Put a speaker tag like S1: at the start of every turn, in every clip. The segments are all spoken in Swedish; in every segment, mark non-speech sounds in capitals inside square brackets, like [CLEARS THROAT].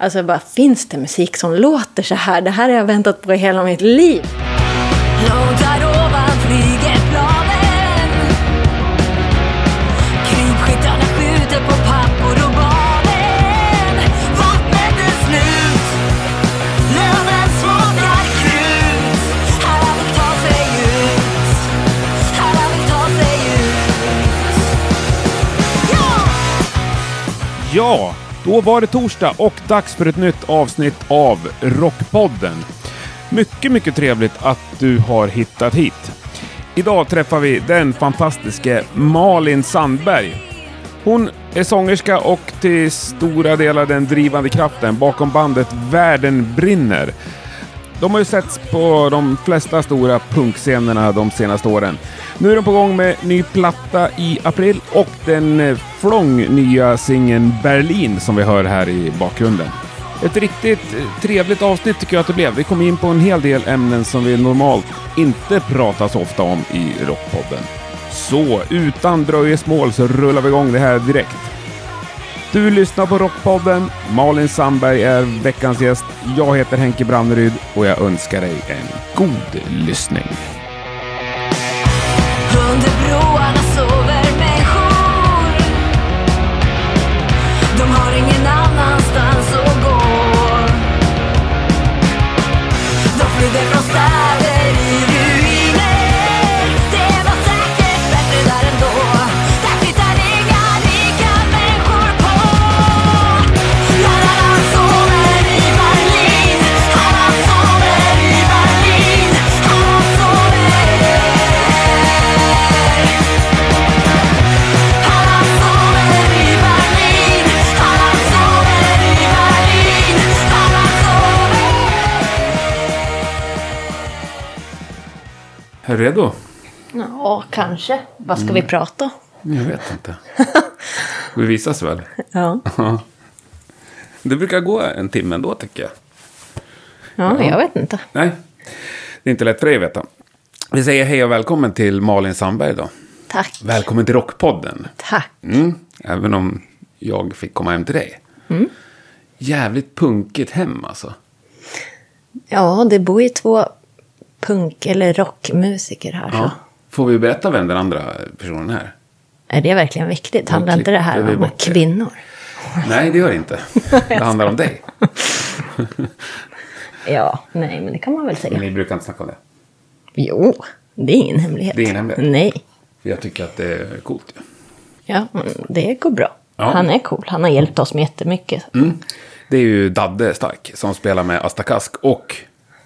S1: Alltså bara, finns det musik som låter så här? Det här har jag väntat på i hela mitt liv.
S2: Långt där ovan flyger planen Krypskyttarna skjuter på pappor och barnen Vattnet är slut Löven smakar krut Alla vill ta sig ut Alla vill ta sig ut Ja!
S3: Ja, då var det torsdag och dags för ett nytt avsnitt av Rockpodden. Mycket, mycket trevligt att du har hittat hit. Idag träffar vi den fantastiske Malin Sandberg. Hon är sångerska och till stora delar den drivande kraften bakom bandet Världen brinner. De har ju setts på de flesta stora punkscenerna de senaste åren. Nu är de på gång med ny platta i april och den eh, flång nya singeln Berlin som vi hör här i bakgrunden. Ett riktigt eh, trevligt avsnitt tycker jag att det blev. Vi kom in på en hel del ämnen som vi normalt inte pratar så ofta om i Rockpodden. Så utan dröjsmål så rullar vi igång det här direkt. Du lyssnar på Rockpodden. Malin Sandberg är veckans gäst. Jag heter Henke Branneryd och jag önskar dig en god lyssning.
S2: Under broarna sover människor De har ingen annanstans att gå De flyger från städer i ruiner Det var säkert bättre där ändå Där tittar inga rika människor på Lärarna sover i Berlin Alla sover i Berlin Alla sover alla sover i Berlin, alla sover i Berlin, alla sover
S3: Är du redo?
S1: Ja, kanske. Vad ska vi
S3: Mm.
S1: prata om?
S3: Jag vet inte. [LAUGHS] Vi visas väl?
S1: Ja,
S3: Det brukar gå en timme ändå tycker jag.
S1: ja jag vet inte.
S3: Nej, det är inte lätt för dig att veta. Vi säger hej och välkommen till Malin Sandberg då.
S1: Tack.
S3: Välkommen till Rockpodden.
S1: Tack.
S3: Mm, även om jag fick komma hem till dig. Jävligt punkigt hem alltså.
S1: Ja, det bor ju två punk eller rockmusiker här.
S3: Ja.
S1: Så.
S3: Får vi berätta vem den andra personen är?
S1: Är det verkligen viktigt? Handlar inte det här
S3: klipper vi
S1: om
S3: bort det.
S1: kvinnor?
S3: Nej, det gör det inte. Det handlar om dig.
S1: Ja, nej, men det kan man väl säga.
S3: Ni brukar inte snacka om det.
S1: Jo, det är ingen hemlighet.
S3: Det är ingen hemlighet.
S1: Nej.
S3: För jag tycker att det är coolt. ju.
S1: Ja, men det går bra.
S3: Ja. Mm.
S1: Han är cool. Han har hjälpt oss med jättemycket.
S3: Det är ju Dadde Stark som spelar med Astakask och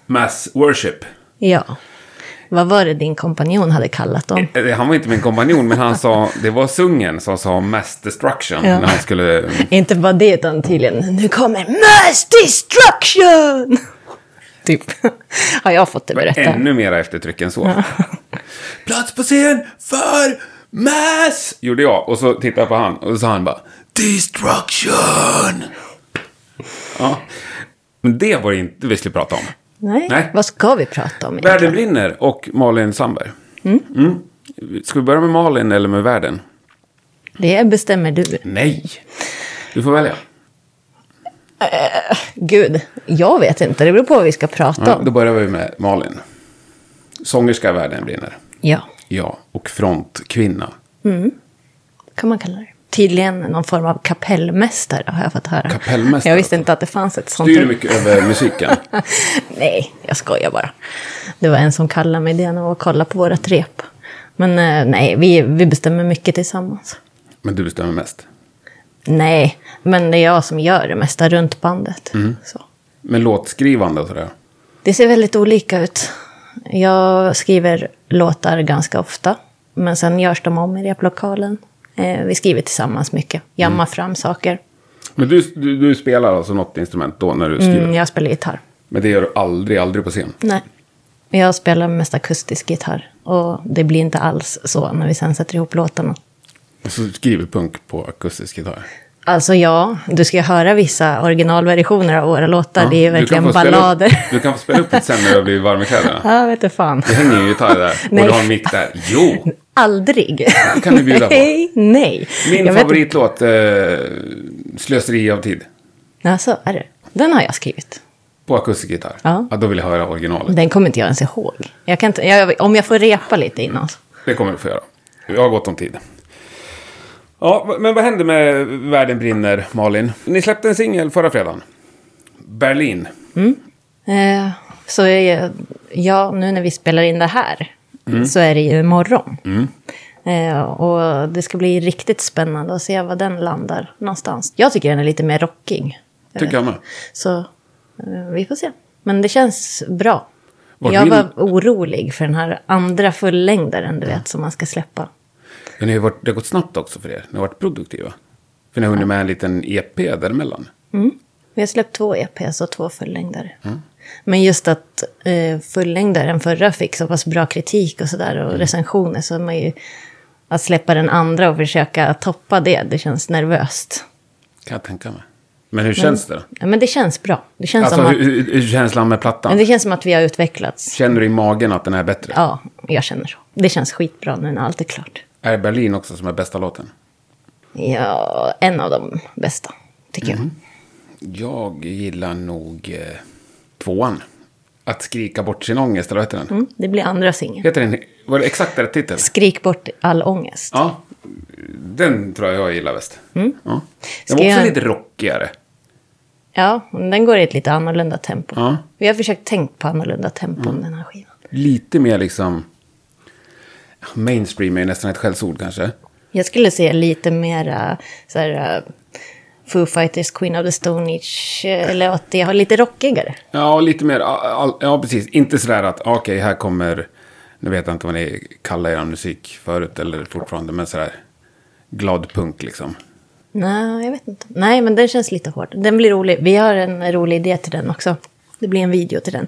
S3: Mass Worship.
S1: Ja. Vad var det din kompanjon hade kallat dem?
S3: Eh, Han var inte min kompanjon, men han sa, det var sungen som sa Mass Destruction
S1: Ja.
S3: när han skulle...
S1: Inte bara det, utan tydligen nu kommer mass destruction! Typ. [LAUGHS] Har jag fått det berättat?
S3: Ännu mera eftertryck än så. [LAUGHS] Plats på scen för Mass! Gjorde jag, och så tittade jag på han, och så sa han bara Destruction! Ja. Men det var det inte vi skulle prata om.
S1: Nej.
S3: Nej.
S1: Vad ska vi prata om egentligen?
S3: Världen brinner och Malin Sandberg. Mm. Ska vi börja med Malin eller med världen?
S1: Det bestämmer du.
S3: Nej. Du får välja.
S1: Gud, jag vet inte. Det beror på vad vi ska prata
S3: Ja,
S1: om.
S3: då börjar vi med Malin. Sångerska Världen brinner.
S1: Ja,
S3: Ja, och frontkvinna.
S1: kan man kalla det. Tydligen någon form av kapellmästare har jag fått höra.
S3: Kapellmästare? alltså.
S1: Jag visste inte att det fanns ett sånt.
S3: Styr du mycket över musiken?
S1: [LAUGHS] Nej, jag skojar bara. Det var en som kallade mig det när jag var och kollade på våra rep. Men eh, nej, vi, vi bestämmer mycket tillsammans.
S3: Men du bestämmer mest.
S1: Nej, men det är jag som gör det mesta runt bandet.
S3: Mm.
S1: Så.
S3: Men låtskrivande och sådär.
S1: Det ser väldigt olika ut. Jag skriver låtar ganska ofta, men sen görs de om i replokalen. Eh, vi skriver tillsammans mycket,
S3: Mm.
S1: jammar fram saker.
S3: Men du, du, du spelar alltså något instrument då när du skriver?
S1: Mm, jag spelar gitarr.
S3: Men det gör du aldrig, aldrig på scen?
S1: Nej. Jag spelar mest akustisk gitarr och det blir inte alls så när vi sen sätter ihop låtarna.
S3: Och så Alltså, skriver punk på akustisk gitarr?
S1: Alltså ja, du ska ju höra vissa originalversioner av våra låtar. det är ju
S3: Du
S1: verkligen
S3: kan få spela
S1: ballader.
S3: Upp, [LAUGHS] du kan få spela upp
S1: [LAUGHS]
S3: lite sen när du blir varm i kläderna.
S1: Ja, vet du fan.
S3: Det hänger ju en
S1: [LAUGHS]
S3: gitarr där.
S1: Nej.
S3: Och du har en mick där. Jo!
S1: Aldrig.
S3: kan du bjuda på.
S1: Nej, nej.
S3: Min
S1: Jag vet inte.
S3: favoritlåt, eh, Slöseri av tid.
S1: Ja, så är det. Den har jag skrivit.
S3: På akustikgitarr?
S1: Ja.
S3: ja. Då vill jag höra originalet.
S1: Den kommer inte jag ens ihåg. Jag kan inte, jag, om jag får repa lite innan. så.
S3: Det kommer du få göra. Jag har gott om tid. Ja, v- men vad hände med Världen brinner, Malin? Ni släppte en singel förra fredagen. Berlin.
S1: Eh, så är jag, ja, nu när vi spelar in det här
S3: Mm.
S1: så är det ju imorgon. Eh, och det ska bli riktigt spännande att se var den landar någonstans. Jag tycker den är lite mer rockig.
S3: Tycker jag med.
S1: Så eh, vi får se. Men det känns bra.
S3: Vart
S1: jag
S3: vill-
S1: var orolig för den här andra fullängdaren du vet som man ska släppa.
S3: Men ni har ju varit, det har gått snabbt också för er. Ni har varit produktiva. För ni har hunnit med en liten EP däremellan.
S1: Vi har släppt två EPs och två fullängdare.
S3: Mm.
S1: Men just att eh, fullängdaren förra fick så pass bra kritik och sådär
S3: Mm.
S1: och recensioner så är man ju... Att släppa den andra och försöka toppa det, det känns nervöst.
S3: Kan jag tänka mig. Men hur känns det?
S1: Ja, men det känns bra. Det känns,
S3: Alltså
S1: som att,
S3: hur, hur, hur känslan med plattan?
S1: men det känns som att vi har utvecklats.
S3: Känner du i magen att den är bättre?
S1: Ja, jag känner så. Det känns skitbra nu när allt är klart.
S3: Är Berlin också som är bästa låten?
S1: Ja, en av de bästa, tycker jag.
S3: Jag gillar nog eh, tvåan. Att skrika bort sin ångest, eller vad heter den?
S1: Mm, det blir andra singeln.
S3: Heter den var det exakt rätt titel?
S1: Skrik bort all ångest.
S3: Ja, den tror jag jag gillar bäst. Ja. Den
S1: Mm. Ska
S3: var också
S1: jag-
S3: lite rockigare.
S1: Ja, men den går i ett lite annorlunda tempo.
S3: Ja.
S1: Vi har försökt tänka på annorlunda tempo om den här skivan.
S3: Lite mer liksom... Mainstream är ju nästan ett skällsord kanske.
S1: Jag skulle säga lite mera så här, eh, Foo Fighters, Queen of the Stone Age, eh, eller att det har lite rockigare.
S3: Ja, lite mer... ja, all- Ja, precis. Inte sådär att okej, här kommer... Nu vet jag inte vad ni kallar er musik förut eller fortfarande, men sådär... Glad punk liksom.
S1: Nej, jag vet inte. Nej, men den känns lite hård. Den blir rolig. Vi har en rolig idé till den också. Det blir en video till den.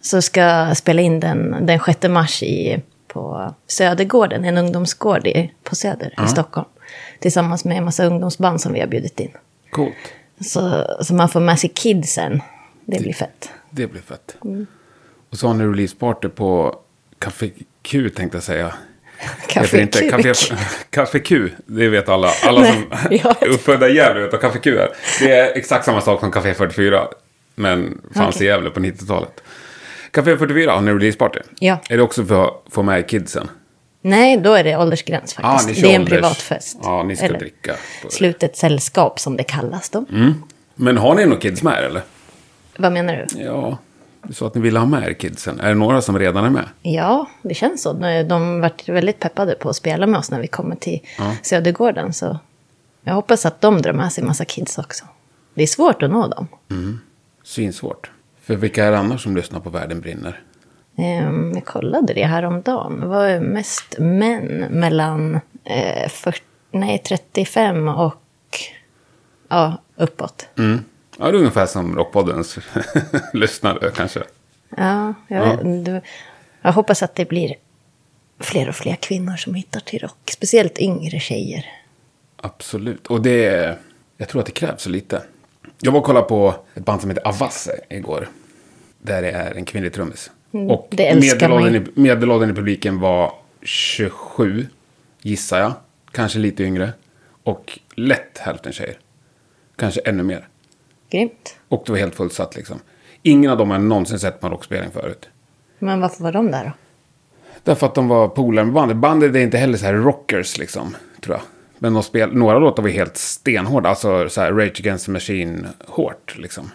S1: Så ska jag spela in den den 6 mars i, på Södergården, en ungdomsgård i, på Söder i Stockholm. Tillsammans med en massa ungdomsband som vi har bjudit in.
S3: Coolt.
S1: Så, så man får med sig kidsen. Det blir fett.
S3: Det blir fett. Och så har ni releaseparty på Café Q tänkte jag säga. Heter
S1: Café
S3: det inte
S1: Kuk.
S3: Café,
S1: [LAUGHS]
S3: Café Q, det vet alla. Alla
S1: Nej,
S3: som
S1: [LAUGHS] jag vet.
S3: är uppfödda i Gävle vet vad Café Q är. Det är exakt samma sak som Café 44. Men fanns
S1: Okej.
S3: i Gävle på 90-talet. Café 44 har ni releaseparty.
S1: Ja.
S3: Är det också för att få med kidsen?
S1: Nej, då är det åldersgräns
S3: Ja,
S1: faktiskt.
S3: Ah, ni kör
S1: det är en
S3: ålders-
S1: privatfest.
S3: Ja, ni ska
S1: Eller
S3: dricka. på Mm. det.
S1: Slutet sällskap som det kallas då.
S3: Men har ni några kids med er eller?
S1: Vad menar du?
S3: Ja, du sa att ni ville ha med er kidsen. Är det några som redan är med?
S1: Ja, det känns så. Nu- De vart väldigt peppade på att spela med oss när vi kommer till Södergården. Så jag hoppas att de drar med sig massa kids också. Det är svårt att nå dem.
S3: Svinsvårt. För vilka är det annars som lyssnar på Världen brinner?
S1: Ehm, Jag kollade det här om dagen. Det var mest män mellan eh, 40, nej, 35 och ja, uppåt.
S3: Mm. Ja, det är ungefär som Rockpoddens [LAUGHS] lyssnare kanske.
S1: Ja, jag, vet- du- jag hoppas att det blir fler och fler kvinnor som hittar till rock. Speciellt yngre tjejer.
S3: Absolut. Och det... Jag tror att det krävs så lite. Jag var och kollade på ett band som heter Avasse igår. Där det är en kvinnlig trummis. Och
S1: Mm, det älskar man ju.
S3: medelåldern i, medelåldern i publiken var 27, gissar jag. Kanske lite yngre. Och lätt hälften tjejer. Kanske ännu mer.
S1: Grymt.
S3: Och det var helt fullsatt liksom. Ingen av dem har jag någonsin sett på en rockspelning förut.
S1: Men varför var de där då?
S3: Därför att de var polare med bandet. Bandet är inte heller så här rockers liksom, tror jag. Men de spel, några låtar var helt stenhårda, alltså så här Rage Against the Machine hårt liksom.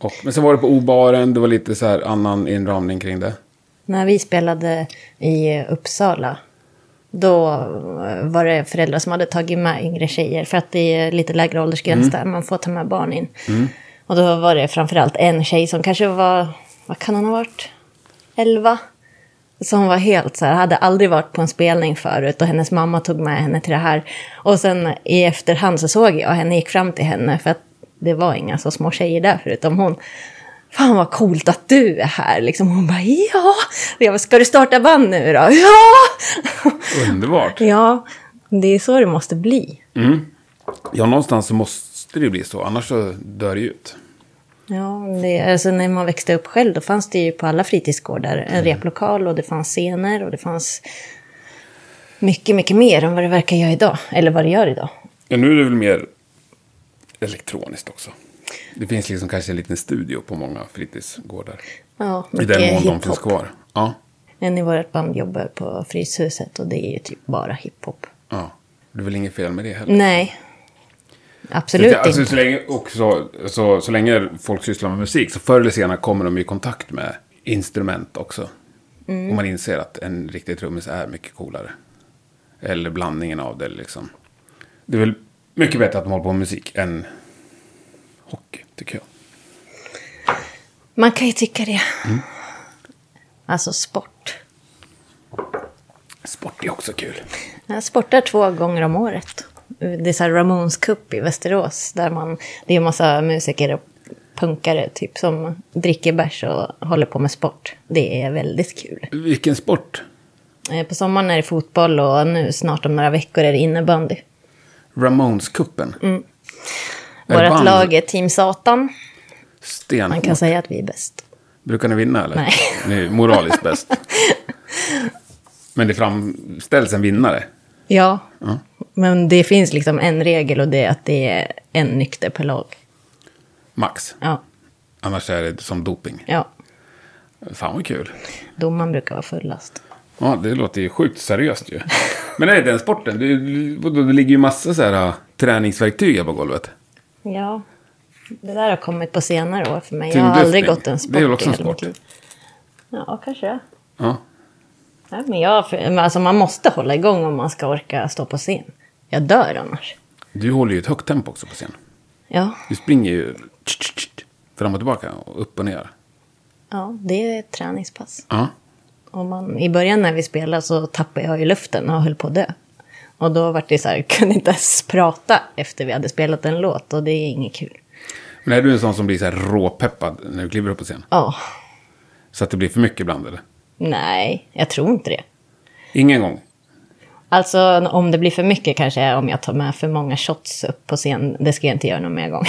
S3: Och, men sen var det på Obaren, det var lite så här annan inramning kring det.
S1: När vi spelade i Uppsala, då eh, var det föräldrar som hade tagit med yngre tjejer. För att det är lite lägre åldersgräns där, man får ta med barn in. Och då var det framförallt en tjej som kanske var, vad kan hon ha varit, 11? Som var helt så här, hade aldrig varit på en spelning förut och hennes mamma tog med henne till det här. Och sen i efterhand så såg jag henne, gick fram till henne för att det var inga så små tjejer där förutom hon. Fan vad coolt att du är här liksom. Hon bara ja. Och jag bara, ska du starta band nu då? [LAUGHS] Ja!
S3: Underbart.
S1: ja, det är så det måste bli.
S3: Ja, någonstans så måste det ju bli så, annars så dör det ju ut.
S1: Ja, det, alltså när man växte upp själv då fanns det ju på alla fritidsgårdar en
S3: Mm.
S1: replokal och det fanns scener och det fanns mycket, mycket mer än vad det verkar göra idag. Eller vad det gör idag.
S3: Ja, nu är det väl mer elektroniskt också. Det finns liksom kanske en liten studio på många fritidsgårdar.
S1: Ja,
S3: I
S1: mycket
S3: den mån de finns
S1: hiphop.
S3: kvar. Ja.
S1: En i vårt band jobbar på Fryshuset och det är ju typ bara hiphop.
S3: ja. Det är väl inget fel med det heller.
S1: Nej, absolut
S3: alltså,
S1: inte.
S3: Så länge, och så, så, så länge folk sysslar med musik så förr eller senare kommer de i kontakt med instrument också.
S1: Mm.
S3: Och man inser att en riktig trummis är mycket coolare. Eller blandningen av det liksom. Det är väl mycket bättre att de håller på med musik än hockey, tycker jag.
S1: Man kan ju tycka det.
S3: Mm.
S1: Alltså sport.
S3: Sport är också kul.
S1: Jag sportar två gånger om året. Det är så här Ramones Cup i Västerås. Där man, det är en massa musiker och punkare typ, som dricker bärs och håller på med sport. Det är väldigt kul.
S3: Vilken sport?
S1: Eh, På sommaren är det fotboll och nu snart om några veckor är det innebandy.
S3: Ramones-cupen. Mm.
S1: Vårt lag är Team Satan.
S3: Sten.
S1: Man kan säga att vi är bäst.
S3: Brukar ni vinna eller?
S1: Nej.
S3: [LAUGHS] Ni är moraliskt bäst. Men det framställs en vinnare.
S1: Ja, men det finns liksom en regel och det är att det är en nykter per lag.
S3: Max.
S1: Ja,
S3: Annars är det som doping.
S1: ja.
S3: Fan vad kul.
S1: domaren brukar vara fullast.
S3: Ja, det låter ju sjukt seriöst ju. Men är det den sporten? Det, vadå, det ligger ju massa så här äh, träningsverktyg här på golvet.
S1: Ja, det där har kommit på senare år för mig. Jag har
S3: Tyngdlyftning.
S1: aldrig gått en sport
S3: Det är väl
S1: i
S3: också en
S1: hela mitt
S3: sport?
S1: liv. Ja, kanske det.
S3: Ja.
S1: Nej, men jag, för- men alltså man måste hålla igång om man ska orka stå på scen. Jag dör annars.
S3: Du håller ju ett högt tempo också på scen.
S1: Ja,
S3: Du springer ju fram och tillbaka och upp och ner.
S1: ja det är ett träningspass.
S3: Ja.
S1: Och man, I början när vi spelade så tappade jag ju luften och höll på att dö. Och då var det så här, [LAUGHS] kunde inte ens prata efter vi hade spelat en låt och det är inget kul.
S3: Men är du en sån som blir så här råpeppad när du kliver upp på scen?
S1: Ja,
S3: Så att det blir för mycket ibland eller?
S1: nej, jag tror inte det.
S3: Ingen gång?
S1: Alltså om det blir för mycket kanske är om jag tar med för många shots upp på scen. Det ska jag inte göra någon mer gång.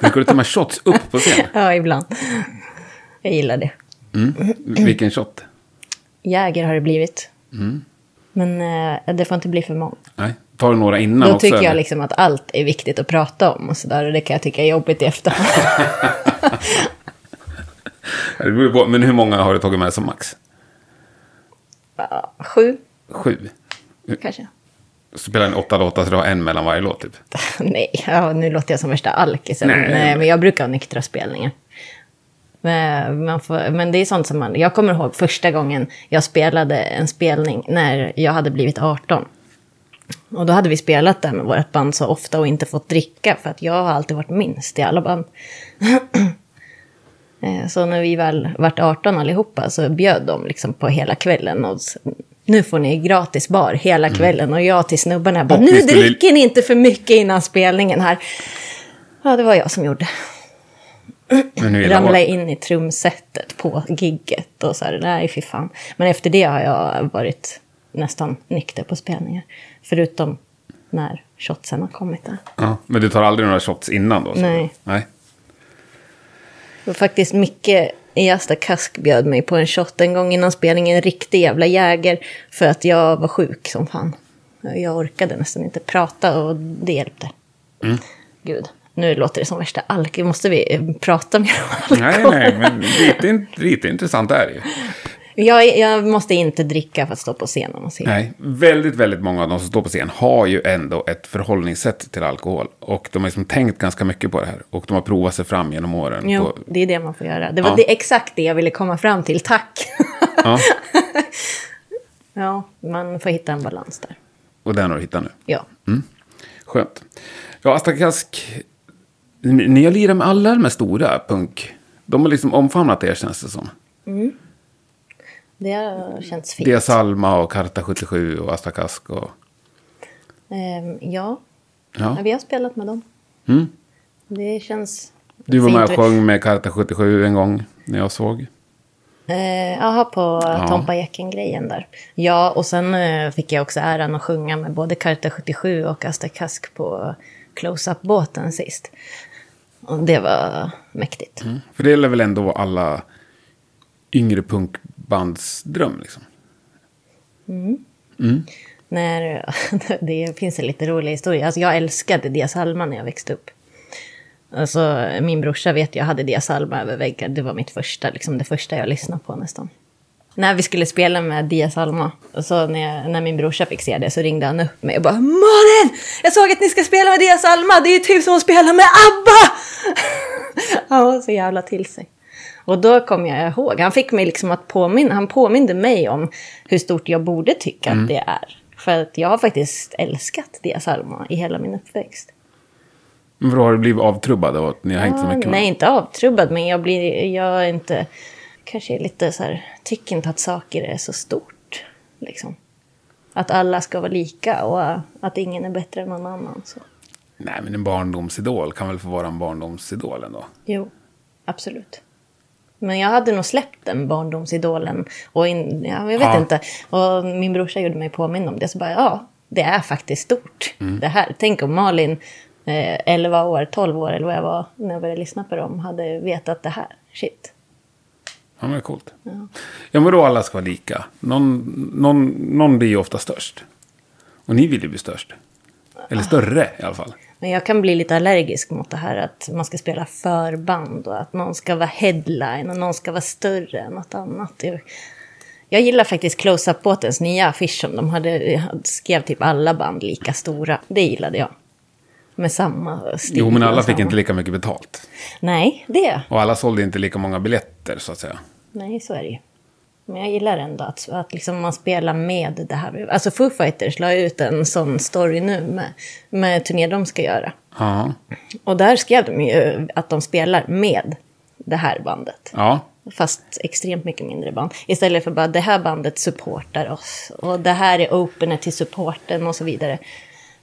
S3: Brukar du ta med shots [LAUGHS] upp på scen?
S1: [LAUGHS] ja, ibland. Jag gillar det.
S3: Mm. Vilken shot?
S1: Jäger har det blivit. Men eh, det får inte bli för många.
S3: Mm. Nej. Tar du några innan
S1: Då
S3: också?
S1: tycker jag
S3: eller?
S1: liksom att allt är viktigt att prata om och sådär. Och det kan jag tycka är jobbigt i efterhand.
S3: [LAUGHS]
S1: [LAUGHS]
S3: Ja, det beror på- Men hur många har du tagit med som max?
S1: Sju,
S3: Sju?
S1: kanske.
S3: Spelar en åtta låtar så du har en mellan varje låt typ?
S1: [LAUGHS] Nej, ja, nu låter jag som värsta alkisen.
S3: Nej.
S1: Nej, men jag brukar ha nyktra spelningar. Men, man får, men det är sånt som man... Jag kommer ihåg första gången jag spelade en spelning när jag hade blivit 18. Och då hade vi spelat där med vårt band så ofta och inte fått dricka för att jag har alltid varit minst i alla band. [CLEARS THROAT] Eh, Så när vi väl vart 18 allihopa så bjöd de liksom på hela kvällen. Och s- nu får ni gratis bar hela kvällen. Och jag till snubbarna bara,
S3: Mm. Och
S1: nu
S3: ni skulle-
S1: dricker ni inte för mycket innan spelningen här. Ja, det var jag som gjorde.
S3: Men nu gillar
S1: Ramlade
S3: jag...
S1: in i trumsetet på gigget och så här, nej fy fan. Men efter det har jag varit nästan nykter på spelningar. Förutom när shotsen har kommit där.
S3: ja, Men du tar aldrig några shots innan då? så-
S1: Nej.
S3: Nej.
S1: Det var faktiskt Micke i Asta Kask bjöd mig på en shot en gång innan spelningen, en riktig jävla jäger, för att jag var sjuk som fan. Jag orkade nästan inte prata och det hjälpte.
S3: Mm.
S1: Gud, nu låter det som värsta alk. Måste vi eh, prata mer om alkohol?
S3: Nej, nej, men lite, in- lite intressant är det ju.
S1: Jag, är- jag måste inte dricka för att stå på scenen och se.
S3: Nej, väldigt, väldigt många av de som står på scen har ju ändå ett förhållningssätt till alkohol. Och de har liksom tänkt ganska mycket på det här. Och de har provat sig fram genom åren.
S1: Jo,
S3: På...
S1: det är det man får göra. Det var
S3: Ja.
S1: det, exakt det jag ville komma fram till, tack.
S3: Ja,
S1: [LAUGHS] ja, man får hitta en balans där.
S3: och den har du hittat nu.
S1: Ja.
S3: Skönt. Ja, Asta Kask, ni, ni har lirat med alla de här stora punk... De har liksom omfamnat er känns det som.
S1: Det har känts fint.
S3: Dia Salma och Karta 77 och Asta Kask och...
S1: Ehm, ja,
S3: Ja. Mm.
S1: Ja, vi har spelat med dem. Det känns...
S3: Du var
S1: fint.
S3: med och sjöng med Karta 77 en gång när jag såg.
S1: Mm. Eh, Jaha, på
S3: Ja.
S1: Tompa Eken-grejen där. Ja, och sen eh, fick jag också äran att sjunga med både Karta 77 och Asta Kask på Close-Up-båten sist. Och det var mäktigt.
S3: För det är väl ändå alla yngre punkbands dröm liksom.
S1: [LAUGHS] När, det finns en lite rolig historia. Alltså, jag älskade Dia Salma när jag växte upp. Alltså, min brorsa vet jag hade Dias Alma över väggar. Det var mitt första, liksom det första jag lyssnade på nästan. När vi skulle spela med Dias Alma, och så när, jag, när min brorsa fick se det så ringde han upp mig och bara Malin! Jag såg att ni ska spela med Dias Alma, det är ju typ som att spela med ABBA! [LAUGHS] han var så jävla till sig. Och då kom jag ihåg, han fick mig liksom att påminna, han påminde mig om hur stort jag borde tycka att det är. För att jag har faktiskt älskat Dias Alma i hela min uppväxt.
S3: Men vadå, har du blivit avtrubbad av att ni har hängt så
S1: Ja,
S3: mycket? med
S1: Ah, Nej, inte avtrubbad, men jag blir, jag är inte, kanske är lite så här, tycker inte att saker är så stort. Liksom. Att alla ska vara lika och äh, att ingen är bättre än någon annan. Så.
S3: Nej, men en barndomsidol kan väl få vara en barndomsidol ändå?
S1: Jo, absolut. Men jag hade nog släppt den barndomsidolen. Och in, ja, jag vet
S3: Ja.
S1: inte. Och min brorsa gjorde mig påminn om det. Så bara, ja, det är faktiskt stort.
S3: Mm.
S1: Det här. Tänk om Malin, eh, 11 år, 12 år eller vad jag var när jag började lyssna på dem, hade vetat det här. Shit.
S3: Ja, men det är coolt. Ja, men då alla ska vara lika. Någon, någon, någon blir ju ofta störst. Och ni vill ju bli störst. Eller större i alla fall.
S1: Men jag kan bli lite allergisk mot det här att man ska spela förband och att någon ska vara headline och någon ska vara större än något annat. Jag, jag gillar faktiskt Close Up Båtens nya affisch som de hade, skrev typ alla band lika stora. Det gillade jag. Med samma stil.
S3: Jo, men alla
S1: och
S3: fick
S1: samma-
S3: inte lika mycket betalt.
S1: Nej, det.
S3: Och alla sålde inte lika många biljetter, så att säga.
S1: Nej, så är det ju. Men jag gillar ändå att, att liksom man spelar med det här. Alltså Foo Fighters la ut en sån story nu med, med turné de ska göra.
S3: Ja.
S1: Och där skrev de ju att de spelar med det här bandet.
S3: Ja.
S1: Fast extremt mycket mindre band. Istället för bara det här bandet supportar oss. Och det här är opener till supporten och så vidare.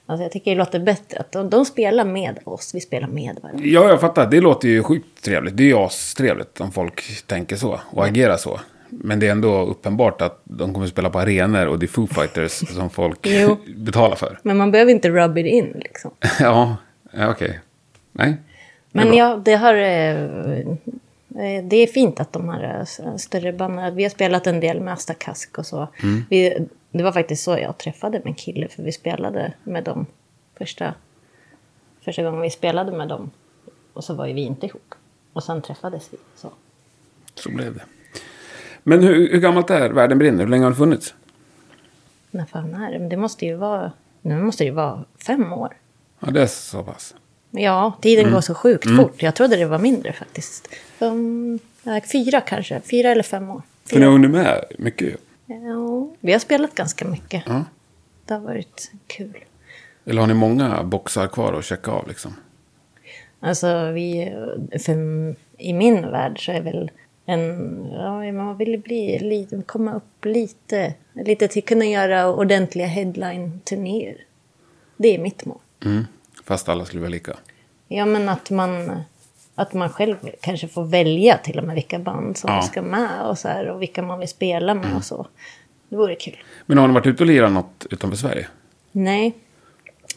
S1: Alltså jag tycker det låter bättre att de, de spelar med oss, vi spelar med varandra.
S3: Ja, jag fattar. Det låter ju sjukt trevligt. Det är ju astrevligt om folk tänker så och agerar så. Men det är ändå uppenbart att de kommer spela på arenor och det är Foo Fighters som folk
S1: Jo.
S3: [LAUGHS] betalar för.
S1: Men man behöver inte rub it in liksom.
S3: ja, ja, okej. Nej. är
S1: Men
S3: bra.
S1: ja, det har... eh, eh, Det är fint att de här eh, s- större banden... Vi har spelat en del med Asta Kask och så.
S3: Mm.
S1: Vi, det var faktiskt så jag träffade min kille, för vi spelade med dem första... Första gången vi spelade med dem. Och så var ju vi inte ihop. Och sen träffades vi. Så.
S3: Så blev det. Men hur, hur gammalt är Världen brinner? Hur länge har den funnits?
S1: När fan är det? Men det måste ju vara... Nu måste det ju vara fem år.
S3: Ja, det är så pass.
S1: Ja, tiden
S3: Mm.
S1: går så sjukt fort. Jag trodde det var mindre faktiskt. Um, nej, fyra kanske. Fyra eller fem år.
S3: För ni har hunnit med mycket ju.
S1: Ja, vi har spelat ganska mycket.
S3: Ja.
S1: Det har varit kul.
S3: Eller har ni många boxar kvar att checka av liksom?
S1: Alltså, vi, för i min värld så är väl en... Ja, man vill ju bli, li, komma upp lite. Lite till kunna göra ordentliga headline-turnéer. Det är mitt mål.
S3: Mm. Fast alla skulle vara lika.
S1: Ja, men att man, att man själv kanske får välja till och med vilka band som
S3: Ja.
S1: ska med och, så här, och vilka man vill spela med och så. Det vore kul.
S3: Men har ni varit ute och lirat något utanför Sverige?
S1: Nej,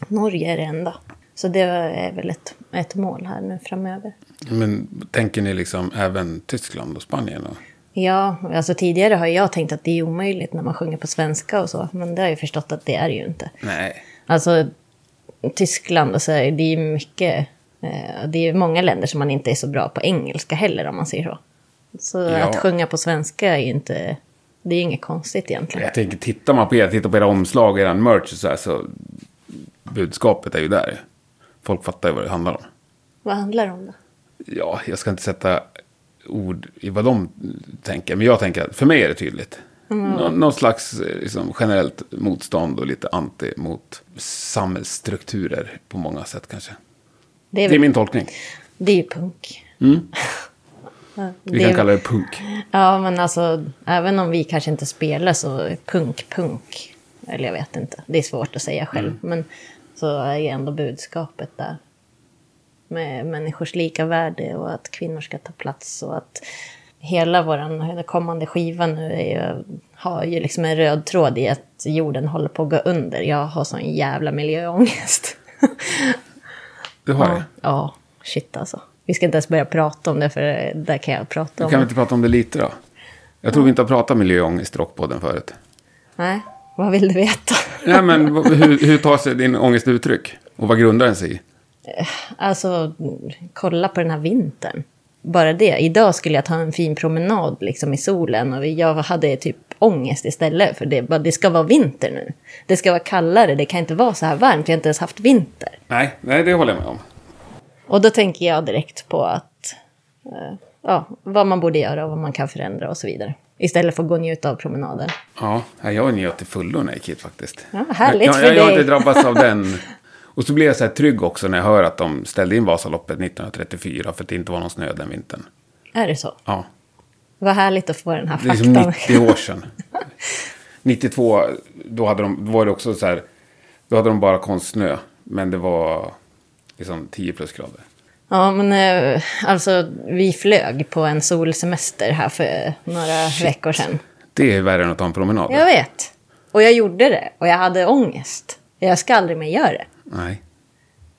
S1: Norge är det enda. Så det är väl ett, ett mål här nu framöver.
S3: Men tänker ni liksom även Tyskland och Spanien? Och...
S1: Ja, alltså tidigare har jag tänkt att det är omöjligt när man sjunger på svenska och så. Men det har jag ju förstått att det är det ju inte.
S3: Nej.
S1: Alltså, Tyskland och så, här, det är ju mycket... Eh, det är ju många länder som man inte är så bra på engelska heller om man säger så. Så
S3: Ja.
S1: att sjunga på svenska är ju inte... Det är ju inget konstigt egentligen.
S3: Jag tänker, tittar man på er, tittar på era omslag och er merch och så här, så budskapet är ju där. Folk fattar ju vad det handlar om.
S1: Vad handlar det om då?
S3: Ja, jag ska inte sätta ord i vad de tänker, men jag tänker att för mig är det tydligt.
S1: Mm.
S3: Nå, någon slags eh, liksom, generellt motstånd och lite anti mot samhällsstrukturer på många sätt kanske.
S1: Det är,
S3: Det är
S1: väl,
S3: min tolkning.
S1: det är ju punk. [LAUGHS] Ja,
S3: Vi
S1: det
S3: kan
S1: är-
S3: kalla det punk.
S1: Ja, men alltså, även om vi kanske inte spelar så punk-punk, eller jag vet inte, det är svårt att säga själv,
S3: Mm.
S1: men så är ju ändå budskapet där. Med människors lika värde och att kvinnor ska ta plats och att hela vår kommande skiva nu är ju, har ju liksom en röd tråd i att jorden håller på att gå under. Jag har sån jävla miljöångest.
S3: Du har det.
S1: ja, shit alltså. Vi ska inte ens börja prata om det, för det där kan jag prata om.
S3: Kan vi inte prata om det lite då? Jag tror vi inte har pratat miljöångest i Rockpodden förut.
S1: Nej, vad vill du veta? [LAUGHS]
S3: [LAUGHS] Nej, men v- hur, hur tar sig din ångest uttryck? Och vad grundar den sig i?
S1: eh, alltså, kolla på den här vintern. Bara det. Idag skulle jag ta en fin promenad liksom, i solen och jag hade typ ångest istället. För det, bara, det ska vara vinter nu. Det ska vara kallare, det kan inte vara så här varmt. Vi har inte ens haft vinter.
S3: Nej, nej, det håller jag med om.
S1: Och då tänker jag direkt på att eh, ja, vad man borde göra och vad man kan förändra och så vidare. Istället för att gå och njuta av promenaden.
S3: Ja, nej, jag njöt till fullo när jag gick hit faktiskt.
S1: Ja, härligt
S3: jag,
S1: för
S3: jag, jag har
S1: dig.
S3: inte drabbats
S1: [LAUGHS]
S3: av den. Och så blev jag så här trygg också när jag hör att de ställde in Vasaloppet 1934 för att det inte var någon snö den vintern.
S1: Är det så?
S3: Ja,
S1: Vad härligt att få den här
S3: det är som
S1: faktan.
S3: 90 år sedan. 92, då, hade de, då var det också så här, då hade de bara konstsnö, men det var liksom 10 plusgrader.
S1: Ja, men eh, alltså vi flög på en solsemester här för några veckor sedan.
S3: Det är värre än att ta en promenad.
S1: Jag vet. Och jag gjorde det. Och jag hade ångest. Jag ska aldrig mer göra det.
S3: Nej.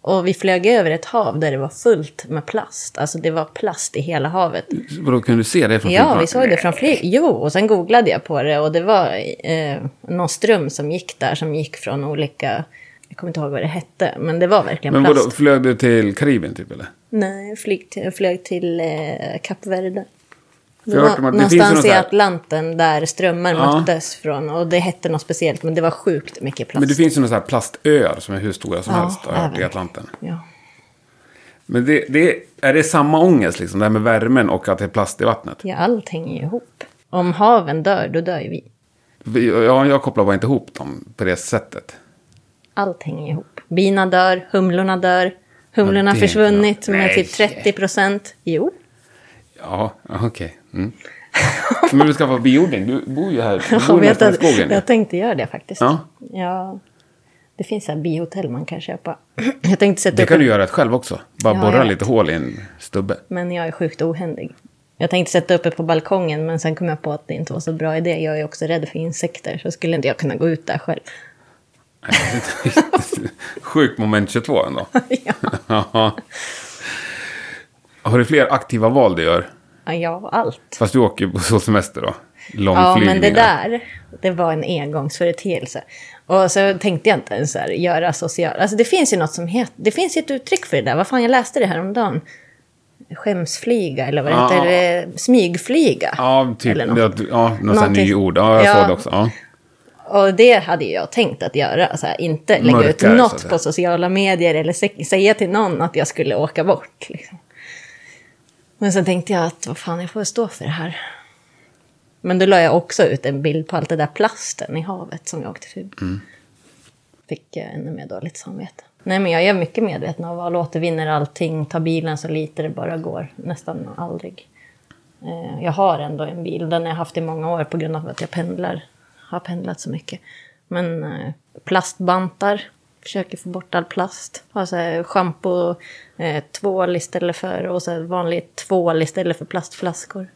S1: Och vi flög över ett hav där det var fullt med plast. Alltså det var plast i hela havet.
S3: Vadå, kunde du se det från
S1: Ja,
S3: flygplanet?
S1: vi såg det från flyg. Jo, och sen googlade jag på det och det var eh, någon ström som gick där som gick från olika... Jag kommer inte ihåg vad det hette, men det var verkligen
S3: Men
S1: plast.
S3: vadå, flög du till Karibien typ eller?
S1: Nej, jag flyg till, jag flög till eh, Kap Verde.
S3: jag
S1: Det
S3: har
S1: var
S3: hört om att det finns ju
S1: någonstans
S3: något
S1: i
S3: här-
S1: Atlanten där strömmar
S3: Ja.
S1: möttes från. Och det hette något speciellt, men det var sjukt mycket plast.
S3: Men det finns ju några så här plastöar som är hur stora som
S1: Ja,
S3: helst har jag hört, i
S1: även.
S3: Atlanten.
S1: Ja.
S3: Men det, det, är det samma ångest, liksom, det här med värmen och att det är plast i vattnet?
S1: ja, allt hänger ju ihop. Om haven dör, då dör ju vi.
S3: Vi- Jag, jag kopplar bara inte ihop dem på det sättet.
S1: Allt hänger ihop. Bina dör, humlorna dör. Humlorna har
S3: Ja, det är
S1: försvunnit
S3: bra.
S1: med typ
S3: Nej.
S1: 30 procent. Jo.
S3: Ja, ja, okej. Mm. Men du ska få biodling, du bor ju här, du
S1: [LAUGHS] Jag,
S3: bor
S1: vet
S3: ju nästan i
S1: att,
S3: skogen. ju.
S1: jag tänkte göra det faktiskt.
S3: Ja.
S1: Ja. Det finns så här bihotell man kan köpa. [CLEARS THROAT] Jag tänkte sätta
S3: Det
S1: upp
S3: kan
S1: en-
S3: du göra rätt själv också, bara
S1: Ja,
S3: borra
S1: jag vet.
S3: lite hål i en
S1: [LAUGHS]
S3: stubbe.
S1: Men jag är sjukt ohändig. Jag tänkte sätta upp det på balkongen, men sen kom jag på att det inte var så bra idé. Jag är också rädd för insekter, så skulle inte jag kunna gå ut där själv. [LAUGHS]
S3: Sjukt moment 22 ändå. [LAUGHS]
S1: ja.
S3: Ja. Har du fler aktiva val du gör?
S1: ja, allt.
S3: Fast du åker ju på solsemester då?
S1: Ja, men det
S3: Långflygningar.
S1: där, det var en engångsföreteelse. Och så tänkte jag inte ens så här, göra social... Alltså det finns ju något som heter... Det finns ju ett uttryck för det där. Vad fan, jag läste det här om dagen. Skämsflyga, eller vad det
S3: Ja.
S1: heter. Eh, Smygflyga.
S3: Ja, typ.
S1: Eller
S3: Ja,
S1: något.
S3: något sånt här
S1: Någonting.
S3: nyord. Ja, jag
S1: Ja.
S3: såg det också. Ja.
S1: Och det hade ju jag tänkt att göra. Så här, inte lägga
S3: Mörkare,
S1: ut
S3: så att
S1: något
S3: säga.
S1: på sociala medier eller sä- säga till någon att jag skulle åka bort. Liksom. Men sen tänkte jag att vad fan, jag får stå för det här. Men då la jag också ut en bild på allt det där plasten i havet som jag åkte förbi. Fick jag ännu mer dåligt samvete. Nej, men jag är mycket medveten av val, återvinner allting, tar bilen så lite det bara går. Nästan aldrig. Eh, Jag har ändå en bil, den har jag haft i många år på grund av att jag pendlar. Har pendlat så mycket. Men eh, plastbantar, försöker få bort all plast. Har så här schampo, eh, tvål istället för, och så här vanlig tvål istället för plastflaskor.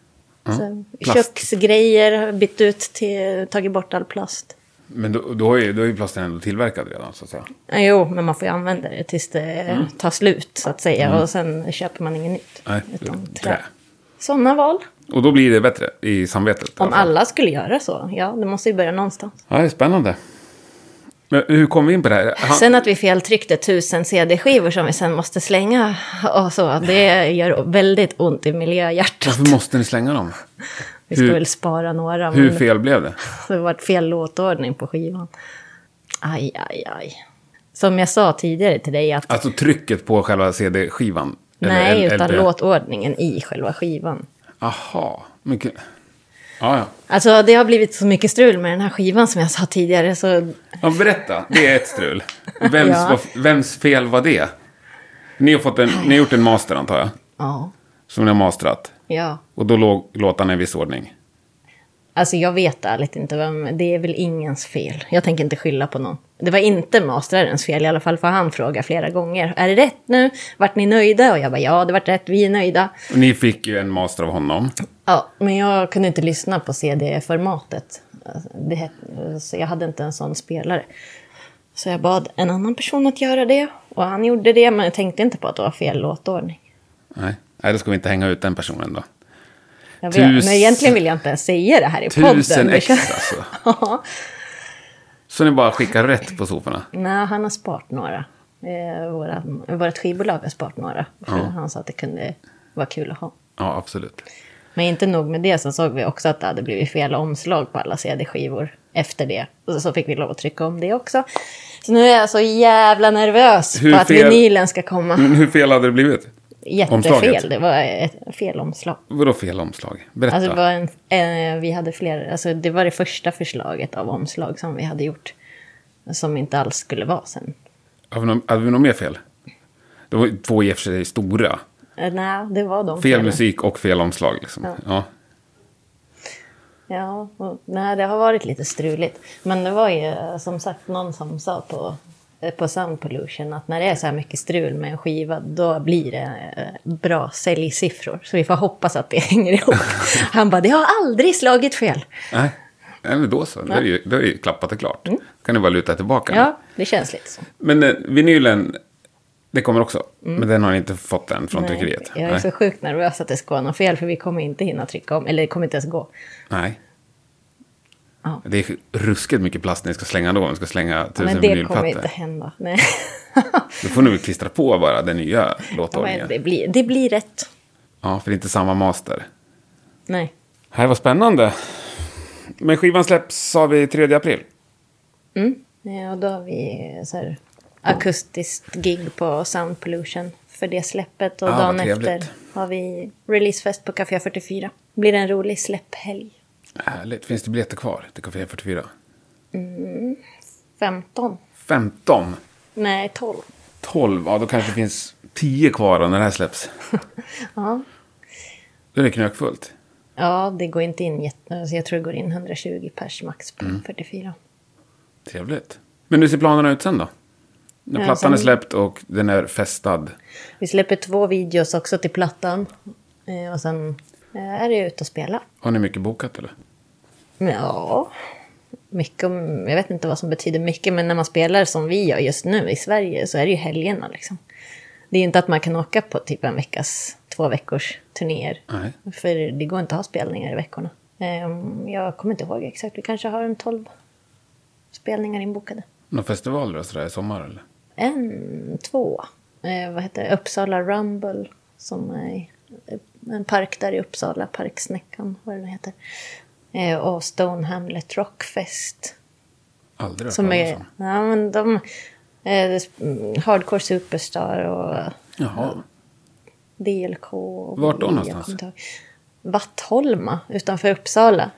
S1: Så
S3: plast.
S1: Köksgrejer har jag bytt ut till, tagit bort all plast.
S3: Men då, då, är ju, då är ju plasten ändå tillverkad redan, så att säga.
S1: Eh, Jo, men man får ju använda det tills det tar slut så att säga. Och sen köper man inget nytt.
S3: Mm. Nej,
S1: utan
S3: det-
S1: trä.
S3: trä.
S1: Sådana val.
S3: Och då blir det bättre i samvetet. i
S1: Om
S3: alla fall.
S1: alla skulle göra så, ja, det måste ju börja någonstans.
S3: Ja, det är spännande. Men hur kom vi in på det här? Han,
S1: Sen att vi feltryckte tusen CD-skivor som vi sen måste slänga och så, det gör väldigt ont i miljöhjärtat.
S3: Varför måste ni slänga dem?
S1: Vi ska
S3: hur-
S1: väl spara några,
S3: Hur
S1: men
S3: fel blev det?
S1: det var fel låtordning på skivan. Aj, aj, aj. Som jag sa tidigare till dig, att
S3: Alltså trycket på själva CD-skivan? eller
S1: nej,
S3: L-
S1: utan
S3: LP?
S1: låtordningen i själva skivan.
S3: Aha. Mycket. Ja, ja.
S1: Alltså, det har blivit så mycket strul med den här skivan som jag sa tidigare, så
S3: ja. Berätta, det är ett strul. Vems,
S1: Ja.
S3: var, vems fel var det? Ni har, fått en, ni har gjort en master, antar jag.
S1: ja,
S3: Som ni har mastrat.
S1: ja.
S3: Och då låg låtarna i viss ordning.
S1: Alltså jag vet ärligt inte vem, det är väl ingens fel. Jag tänker inte skylla på någon. Det var inte mastrarens fel i alla fall, för han frågade flera gånger. Är det rätt nu? Vart ni nöjda? Och jag bara ja, det vart rätt, vi är nöjda.
S3: Och Ni fick ju en master av honom.
S1: Ja, men jag kunde inte lyssna på CD-formatet. Alltså, Det, het- så jag hade inte en sån spelare. Så jag bad en annan person att göra det. Och han gjorde det, men jag tänkte inte på att det var fel låtordning.
S3: Nej, Nej då ska vi inte hänga ut den personen då.
S1: Jag vet,
S3: Tusen-
S1: men egentligen vill jag inte ens säga det här i podden.
S3: Tusen
S1: Det
S3: extra
S1: känns-
S3: alltså.
S1: [LAUGHS] Ja.
S3: Så ni bara skickar rätt på soporna.
S1: Nej, han har sparat några. eh, våra, vårt skivbolag har sparat några. För
S3: Ja.
S1: Han sa att det kunde vara kul att ha.
S3: Ja, absolut.
S1: Men inte nog med det så såg vi också att det hade blivit fel omslag på alla CD-skivor efter det. Och så fick vi lov att trycka om det också. Så nu är jag så jävla nervös
S3: Hur
S1: på att
S3: fel-
S1: vinylen ska komma.
S3: Men hur fel hade det blivit?
S1: Jättefel,
S3: omslaget?
S1: det var ett fel omslag.
S3: Vadå fel omslag? Berätta.
S1: Alltså det, var en, eh, vi hade fler, alltså det var det första förslaget av omslag som vi hade gjort. Som inte alls skulle vara sen.
S3: hade, vi någon, hade vi något mer fel? Det var ju två i och för sig stora.
S1: Eh, nej, det var de
S3: Fel
S1: felen.
S3: musik och fel omslag. Liksom. Ja.
S1: Ja, och, nej, det har varit lite struligt. Men det var ju eh, som sagt någon som sa på, eh, på Sound Pollution att när det är så här mycket strul med en skiva då blir det eh, bra säljsiffror. Så vi får hoppas att det [LAUGHS] hänger
S3: [LAUGHS]
S1: ihop. Han bara, det har aldrig slagit fel.
S3: Nej. Nej, men då så. Då är det ju, då är det ju klappat och klart. kan du bara luta tillbaka.
S1: Mm. Ja, det känns lite så.
S3: Men eh, vinylen, det kommer också. Men den har ni inte fått än från tryckeriet?
S1: Mm. jag är så sjukt nervös att det ska vara något fel för vi kommer inte hinna trycka om, eller det kommer inte ens gå.
S3: Nej.
S1: Ja.
S3: Det är ruskigt mycket plast ni ska slänga då. Ni ska slänga tusen
S1: Men det kommer inte
S3: vinylplattor.
S1: hända. Nej.
S3: Då får ni väl klistra på bara den nya låtordningen.
S1: Men det, blir, det blir rätt.
S3: Ja, för det är inte samma master.
S1: Nej.
S3: Här var spännande. Men skivan släpps, sa vi, 3 april.
S1: Ja, och då har vi så här, akustiskt gig på Sound Pollution för det släppet. Och
S3: Ah, vad
S1: dagen
S3: trevligt.
S1: efter har vi releasefest på Café 44. Blir det en rolig släpphelg.
S3: Härligt. Finns det biljetter kvar till Café 44?
S1: 15?
S3: 15.
S1: Nej, 12.
S3: 12. Ja, då kanske det finns 10 kvar då när det här släpps.
S1: Ja.
S3: Då är det knökfullt.
S1: Ja, det går inte in jätte... Så jag tror det går in 120 pers max på
S3: Mm.
S1: 44.
S3: Trevligt. Men hur ser planerna ut sen då? När
S1: Ja,
S3: plattan
S1: sen-
S3: är släppt och den är festad.
S1: Vi släpper två videos också till plattan. Eh, Och sen eh, är det ut och spela.
S3: Har ni mycket bokat eller?
S1: Men Ja, mycket, om- jag vet inte vad som betyder mycket, men när man spelar som vi gör just nu i Sverige så är det ju helgerna liksom. Det är ju inte att man kan åka på typ en veckas, två veckors turnéer.
S3: Nej.
S1: För det går inte att ha spelningar i veckorna. Ehm, Jag kommer inte ihåg exakt, vi kanske har en tolv spelningar inbokade.
S3: Några festivaler och sådär i sommar eller?
S1: En, två. Eh, vad heter det? Uppsala Rumble. Som är en park där i Uppsala. Parksnäckan, vad det nu heter. Eh, och Stone Hamlet Rockfest.
S3: Aldrig hört
S1: Som
S3: talas
S1: är...
S3: om.
S1: Ja, men de... Eh, det- mm, hardcore Superstar och
S3: Jaha.
S1: DLK. Och
S3: Vart då
S1: jag
S3: någonstans?
S1: kommer inte ihåg. Vattholma utanför Uppsala.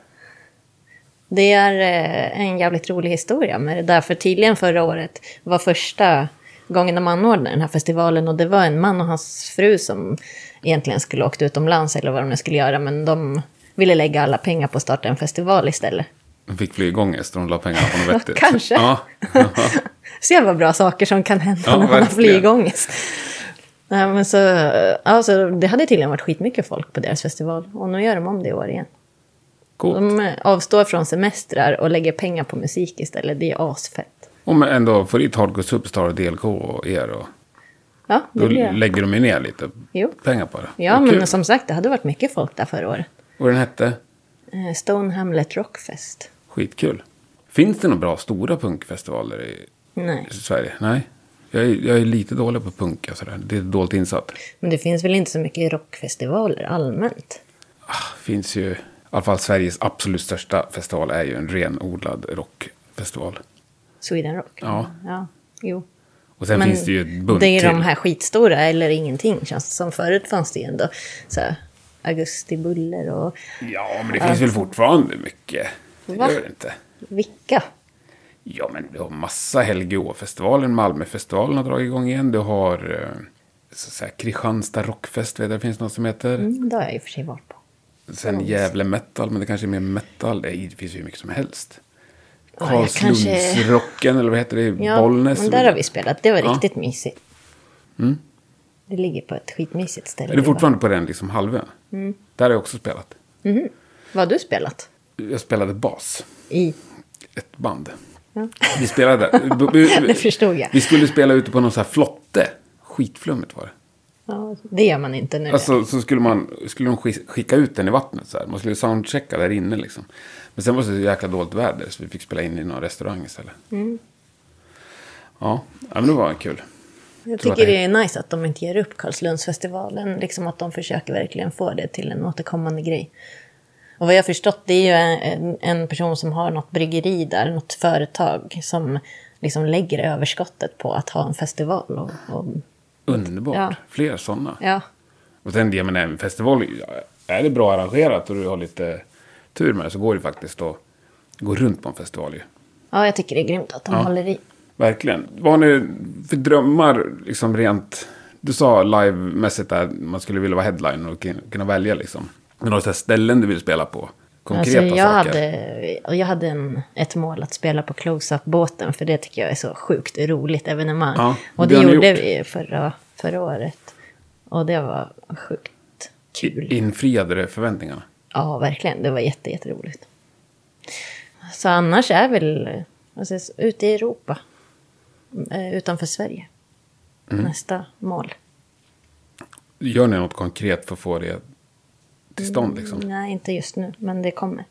S1: Det är eh, en jävligt rolig historia med det där. För tydligen förra året var första gången de anordnade den här festivalen. Och det var en man och hans fru som egentligen skulle åkt utomlands eller vad de nu skulle göra. Men de ville lägga alla pengar på att starta en festival istället.
S3: De fick flygångest och de la pengarna
S1: [LAUGHS]
S3: på något vettigt.
S1: Kanske.
S3: Ja.
S1: Så jävla bra saker som kan hända
S3: Ja,
S1: när man har
S3: verkligen.
S1: flygångest. Nej, men så, alltså, det hade tydligen varit skitmycket folk på deras festival. Och nu gör de om det i år igen.
S3: Coolt.
S1: De eh, avstår från semestrar och lägger pengar på musik istället. Det är asfett.
S3: Om man ändå får dit Hardcore Superstar och DLK och er och
S1: Ja,
S3: då
S1: det blir det.
S3: lägger de ju ner lite
S1: Jo.
S3: pengar på det.
S1: Ja,
S3: Vad kul.
S1: men alltså- som sagt, det hade varit mycket folk där förra året.
S3: Och den hette?
S1: Eh, Stone Hamlet Rockfest.
S3: Skitkul. Finns det några bra stora punkfestivaler i
S1: Nej,
S3: Sverige? Nej. Jag är, jag är lite dålig på punk och sådär. Det är dåligt insatt.
S1: men det finns väl inte så mycket rockfestivaler allmänt?
S3: Ah, finns ju, i alla fall Sveriges absolut största festival är ju en renodlad rockfestival.
S1: Sweden Rock?
S3: Ja.
S1: ja jo.
S3: Och sen
S1: Men
S3: finns det ju ett bunt
S1: Det är ju de
S3: till.
S1: här skitstora eller ingenting känns det som. Förut fanns det ju ändå så här, augustibuller och
S3: Ja, men det finns väl fortfarande mycket. Det
S1: Va?
S3: gör det inte.
S1: vilka.
S3: Ja, men du har massa Helge Å-festivalen, Malmöfestivalen har dragit igång igen. Du har eh, så, så här, Kristianstad Rockfest, vet jag, det finns något som heter.
S1: Mm, det har jag i och för sig varit på.
S3: Sen Gävle Metal, men det kanske är mer metal. Nej, det finns ju hur mycket som helst.
S1: jag kanske-
S3: Karlslundsrocken, eller vad heter det? i
S1: Ja,
S3: Bollnäs.
S1: men där har vi spelat. Det var
S3: Ja. Mm.
S1: riktigt mysigt. Det ligger på ett skitmysigt ställe.
S3: Är du
S1: det var.
S3: fortfarande på den liksom halvön?
S1: Mm.
S3: Där har jag också spelat.
S1: Vad har du spelat?
S3: Jag spelade bas,
S1: I?
S3: ett band. Vi spelade [LAUGHS] där. B- b-
S1: Det förstod jag.
S3: Vi skulle spela ute på någon sån här flotte. Skitflummigt var det.
S1: Ja, det gör man inte nu.
S3: Alltså så skulle, man, skulle de skis- skicka ut den i vattnet så här. Man skulle soundchecka där inne liksom. Men sen var det så jäkla dåligt väder
S1: Mm.
S3: så vi fick spela in i någon restaurang istället. Ja, ja men det var kul.
S1: Jag
S3: tror att
S1: tycker
S3: det-
S1: det är nice att de inte ger upp Karlslundsfestivalen. Liksom att de försöker verkligen få det till en återkommande grej. Och vad jag har förstått, det är ju en, en person som har något bryggeri där, något företag som liksom lägger överskottet på att ha en festival. Och, och,
S3: Underbart.
S1: Ja.
S3: Fler sådana.
S1: ja.
S3: Och sen, jag menar, en festival, är det bra arrangerat och du har lite tur med det så går det faktiskt att gå runt på en festival ju.
S1: ja, jag tycker det är grymt att de håller i.
S3: Verkligen. Vad har ni för drömmar, liksom rent... Du sa livemässigt där man skulle vilja vara headline och kun- kunna välja liksom. Men har du så här ställen du vill spela på? Konkreta
S1: Alltså, jag
S3: saker?
S1: Hade, och jag hade en, ett mål att spela på Close-Up-båten, för det tycker jag är så sjukt roligt evenemang.
S3: Ja,
S1: och
S3: det
S1: det
S3: har ni
S1: gjorde
S3: gjort.
S1: vi förra, förra året. Och det var sjukt kul.
S3: Infriade det förväntningarna?
S1: Ja, verkligen. Det var jätte, jätteroligt. Så annars är väl alltså, ute i Europa, eh, utanför Sverige,
S3: Mm.
S1: nästa mål.
S3: Gör ni något konkret för att få det till stånd liksom?
S1: Nej, inte just nu, men det kommer.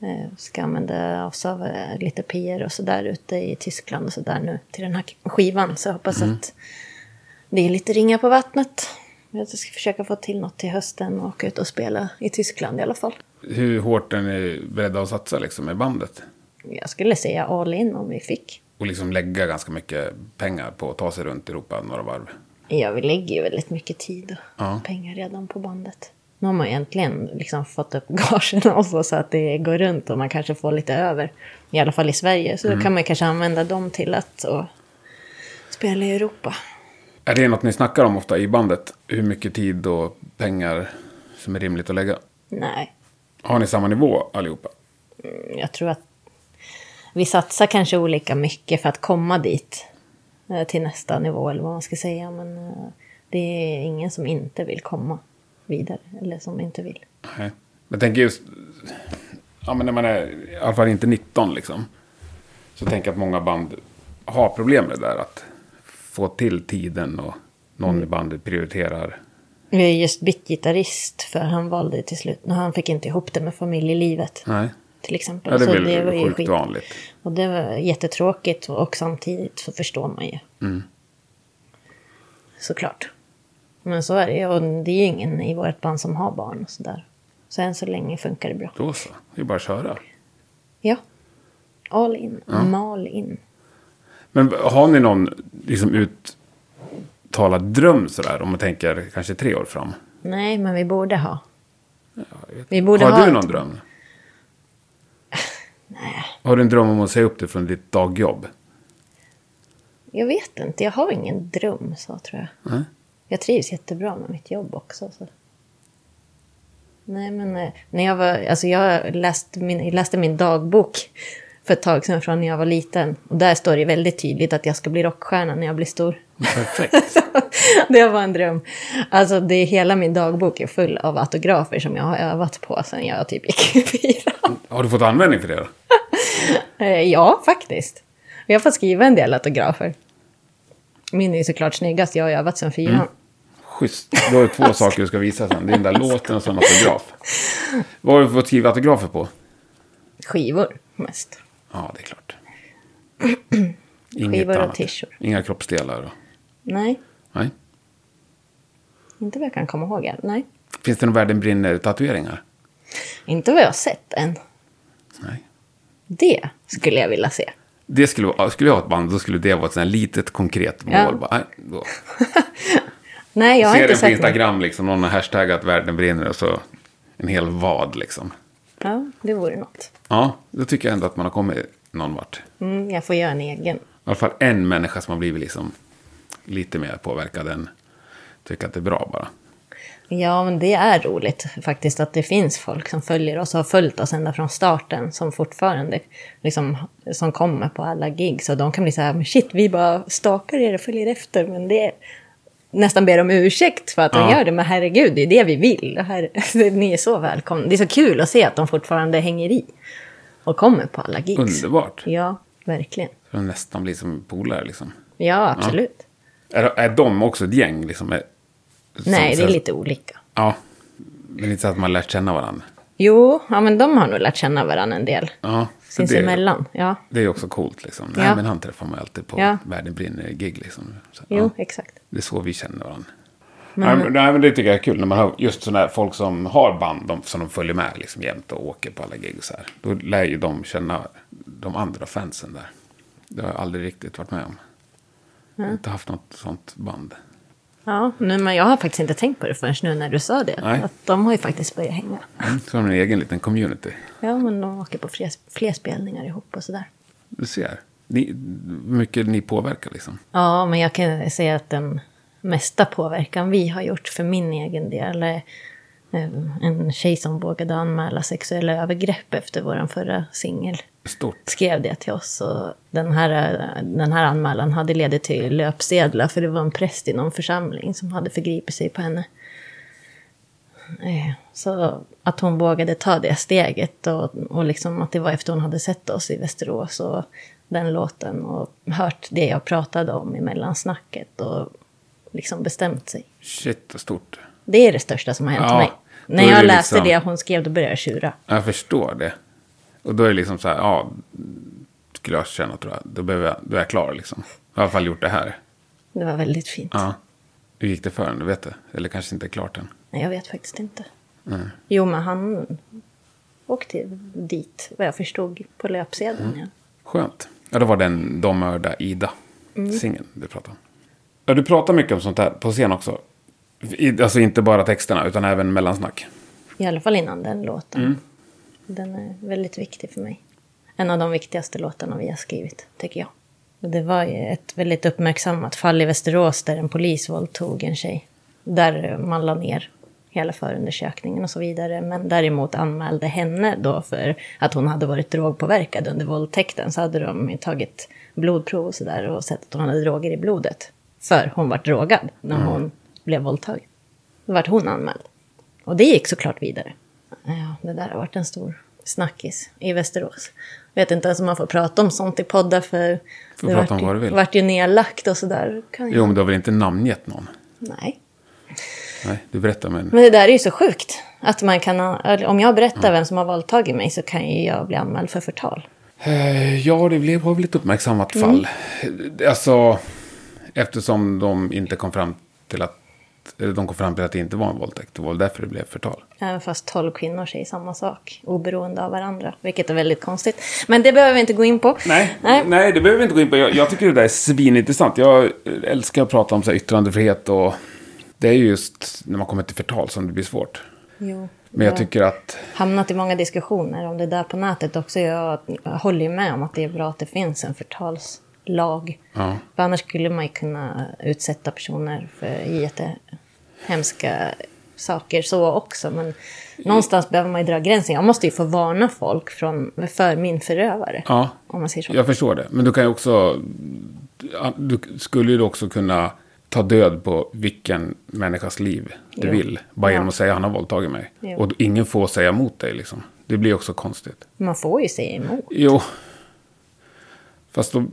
S1: Eh, Ska använda oss av eh, lite PR och sådär ute i Tyskland och sådär nu till den här skivan. Så jag hoppas att det är lite ringa på vattnet. Jag ska försöka få till något till hösten och åka ut och spela i Tyskland i alla fall.
S3: Hur hårt är ni beredda att satsa liksom med bandet?
S1: Jag skulle säga all in om vi fick.
S3: Och liksom lägga ganska mycket pengar på att ta sig runt Europa några varv.
S1: Ja, vi lägger ju väldigt mycket tid och
S3: Ja.
S1: pengar redan på bandet. Nu har man äntligen liksom fått upp [LAUGHS] gagen också så att det går runt och man kanske får lite över. I alla fall i Sverige. Så då kan man kanske använda dem till att och spela i Europa.
S3: Är det något ni snackar om ofta i bandet? Hur mycket tid och pengar som är rimligt att lägga?
S1: Nej,
S3: Har ni samma nivå allihopa?
S1: jag tror att vi satsar kanske olika mycket för att komma dit. eh, Till nästa nivå eller vad man ska säga. Men eh, det är ingen som inte vill komma vidare. Eller som inte vill.
S3: Nej. Jag tänker just, ja men när man är i alla fall inte 19 liksom. Så tänker jag att många band har problem med det där. Att få till tiden och någon
S1: Mm.
S3: i bandet prioriterar.
S1: Jag är just bytt gitarrist för han valde till slut. och Han fick inte ihop det med familjelivet.
S3: Nej.
S1: Till exempel.
S3: Ja, det
S1: Så
S3: är
S1: var
S3: väl
S1: ju
S3: sjukt
S1: skit.
S3: vanligt.
S1: Och det var jättetråkigt och samtidigt så förstår man ju.
S3: Mm.
S1: Såklart. Men så är det ju. Och det är ju ingen i vårt band som har barn och sådär. Så än så länge funkar det bra.
S3: Då så, det är bara att köra.
S1: Ja. All in. Mal in.
S3: Men har ni någon liksom uttalad dröm sådär? Om man tänker kanske tre år fram.
S1: Nej, men vi borde ha. Vi borde
S3: har
S1: ha
S3: du
S1: ett- [LAUGHS]
S3: någon dröm? Nej. Har du en dröm om att säga upp dig från ditt dagjobb?
S1: Jag vet inte. Jag har ingen dröm så tror jag.
S3: Nej.
S1: Jag trivs jättebra med mitt jobb också. Så. Nej, men eh, när jag var... Alltså jag läste min, jag läste min dagbok för ett tag sedan från när jag var liten. Och där står det väldigt tydligt att jag ska bli rockstjärna när jag blir stor. [LAUGHS]
S3: Perfekt.
S1: det var en dröm. Alltså det, hela min dagbok är full av autografer som jag har övat på sedan jag typ gick i fyran.
S3: Har du fått användning för det då?
S1: Eh, Ja, faktiskt. Och Jag får skriva en del autografer. Min är ju såklart snyggast, jag har övat sedan fyran.
S3: Mm. Schysst. Då
S1: [LAUGHS]
S3: är det två saker du ska visa sen. Det är den där låten och sen autograf. Vad har du fått skriva autografer på?
S1: Skivor mest.
S3: Ja, det är klart. Inget
S1: Skivor och
S3: annat.
S1: t-shirt.
S3: Inga kroppsdelar? då?
S1: Nej,
S3: Nej.
S1: inte vad jag kan komma ihåg. än. Nej.
S3: Finns det någon världen brinner-tatueringar?
S1: Inte vad jag har sett än.
S3: Nej.
S1: Det skulle jag vilja se.
S3: Det skulle, vara- skulle jag ha ett band, då skulle det vara ett sånt här litet konkret mål.
S1: Ja.
S3: Bara, nej, då.
S1: Nej, jag har
S3: Ser
S1: inte
S3: den på
S1: sett någon.
S3: Instagram, liksom, någon har hashtaggat världen brinner och så en hel vad. Liksom.
S1: Ja, det vore något.
S3: Ja, då tycker jag ändå att man har kommit någon vart.
S1: Mm, jag får göra en egen.
S3: I alla fall en människa som har blivit liksom lite mer påverkad än tycker att det är bra bara.
S1: Ja, men det är roligt faktiskt att det finns folk som följer oss och har följt oss ända från starten som fortfarande liksom, som kommer på alla gig. Så de kan bli så här, men shit, vi bara stalkar er och följer efter. Men det är nästan ber om ursäkt för att de
S3: Ja.
S1: gör det. Men herregud, det är det vi vill. Och Här, [LAUGHS] ni är så välkomna. Det är så kul att se att de fortfarande hänger i och kommer på alla gigs.
S3: Underbart.
S1: Ja, verkligen.
S3: Så de nästan blir som polare liksom.
S1: Ja, absolut.
S3: Är, är de också ett gäng liksom? Är, som-
S1: Nej, det är
S3: så-
S1: lite olika.
S3: Ja, det är lite så att man lärt känna varandra.
S1: Jo, ja, men de har nog lärt känna varandra en del.
S3: Ja, så det,
S1: Sinsemellan, ja.
S3: det är också coolt liksom.
S1: Ja.
S3: Nej, men han träffar man alltid på
S1: Ja.
S3: Världen brinner-gig liksom. Så,
S1: Jo,
S3: ja.
S1: exakt.
S3: Det är så vi känner varandra. Nej, men, nej, men det tycker jag är kul när man har just sådana här folk som har band de, som de följer med liksom, jämt och åker på alla gig och så här. Då lär ju de känna de andra fansen där. Det har jag aldrig riktigt varit med om. Jag har inte haft något sånt band.
S1: Ja, nu, men jag har faktiskt inte tänkt på det förrän nu när du sa det.
S3: Nej.
S1: Att de har ju faktiskt börjat hänga.
S3: Mm. Så har de en egen liten community.
S1: Ja, men de åker på fler, fler spelningar ihop och sådär.
S3: Du ser. Ni, hur mycket ni påverkar liksom.
S1: Ja, men jag kan säga att den mesta påverkan vi har gjort för min egen del är eh, en tjej som vågade anmäla sexuella övergrepp efter vår förra singel.
S3: Stort.
S1: skrev det till oss. Och den, här, den här anmälan hade ledit till löpsedlar för det var en präst i någon församling som hade förgripit sig på henne. Eh, Så att hon vågade ta det steget och, och liksom att det var efter hon hade sett oss i Västerås och den låten och hört det jag pratade om i mellansnacket och liksom bestämt sig.
S3: Shit, vad stort.
S1: Det är det största som har hänt
S3: Ja,
S1: mig.
S3: då
S1: När
S3: är
S1: jag
S3: det
S1: läste
S3: liksom-
S1: det hon skrev då började jag tjura.
S3: Jag förstår det. Och då är det liksom så här, ja, skulle jag känna tror jag. Då, behöver jag, då är jag klar liksom. Jag har i alla fall gjort det här.
S1: Det var väldigt fint.
S3: Ja. Hur gick det för henne? Du vet det? Eller kanske inte är klart än.
S1: Nej, jag vet faktiskt inte. Jo, men han åkte dit, vad jag förstod, på löpsedeln. Ja.
S3: Skönt. Ja, det var den De mörda Ida. Singeln du pratade om. Ja, du pratar mycket om sånt här på scen också. I, alltså inte bara texterna, utan även mellansnack.
S1: I alla fall innan den låten. Den är väldigt viktig för mig. En av de viktigaste låtarna vi har skrivit, tycker jag. Och Det var ju ett väldigt uppmärksammat fall i Västerås där en polis våldtog en tjej. Där man la ner hela förundersökningen och så vidare. Men däremot anmälde henne då för att hon hade varit drogpåverkad under våldtäkten. Så hade de ju tagit blodprov och sådär och sett att hon hade droger i blodet. För hon var drogad när hon blev våldtagen. Då vart hon anmäld. Och det gick såklart vidare. Ja, det där har varit en stor snackis i Västerås. Vet inte ens om man får prata om sånt i poddar för...
S3: Får
S1: det
S3: prata
S1: vart
S3: om
S1: ju-
S3: vad du vill.
S1: vart ju nedlagt och sådär. Kan jag...
S3: Jo, men du har väl inte namngett någon?
S1: Nej.
S3: Nej, du berättar men...
S1: Men det där är ju så sjukt. Att man kan, om jag berättar
S3: Mm.
S1: vem som har våldtagit mig så kan ju jag bli anmäld för förtal.
S3: Eh, Ja, det blev, var väl ett uppmärksammat fall. Alltså, eftersom de inte kom fram till att... eller De kom fram till att det inte var en våldtäkt. Det var väl därför det blev förtal.
S1: Även fast tolv kvinnor säger samma sak, oberoende av varandra. Vilket är väldigt konstigt. Men det behöver vi inte gå in på.
S3: Nej,
S1: Nej.
S3: nej. det behöver vi inte gå in på. Jag, jag tycker det där är svinintressant. Jag älskar att prata om så här, yttrandefrihet och... Det är ju just när man kommer till förtal som det blir svårt.
S1: Jo.
S3: Men jag
S1: Ja.
S3: tycker att...
S1: hamnat i många diskussioner om det där på nätet också. Jag håller ju med om att det är bra att det finns en förtalslag.
S3: Ja.
S1: För annars skulle man ju kunna utsätta personer för jättehemska saker så också. Men någonstans behöver man ju dra gränsen. Jag måste ju få varna folk från, för min förövare.
S3: Ja,
S1: Om man säger så.
S3: jag förstår det. Men du kan ju också... Du skulle ju då också kunna ta död på vilken människas liv du
S1: Jo.
S3: vill. Bara
S1: Ja.
S3: genom att säga han har våldtagit mig.
S1: Jo.
S3: Och ingen får säga emot dig liksom. Det blir också konstigt.
S1: Man får ju säga emot.
S3: Jo. Fast då...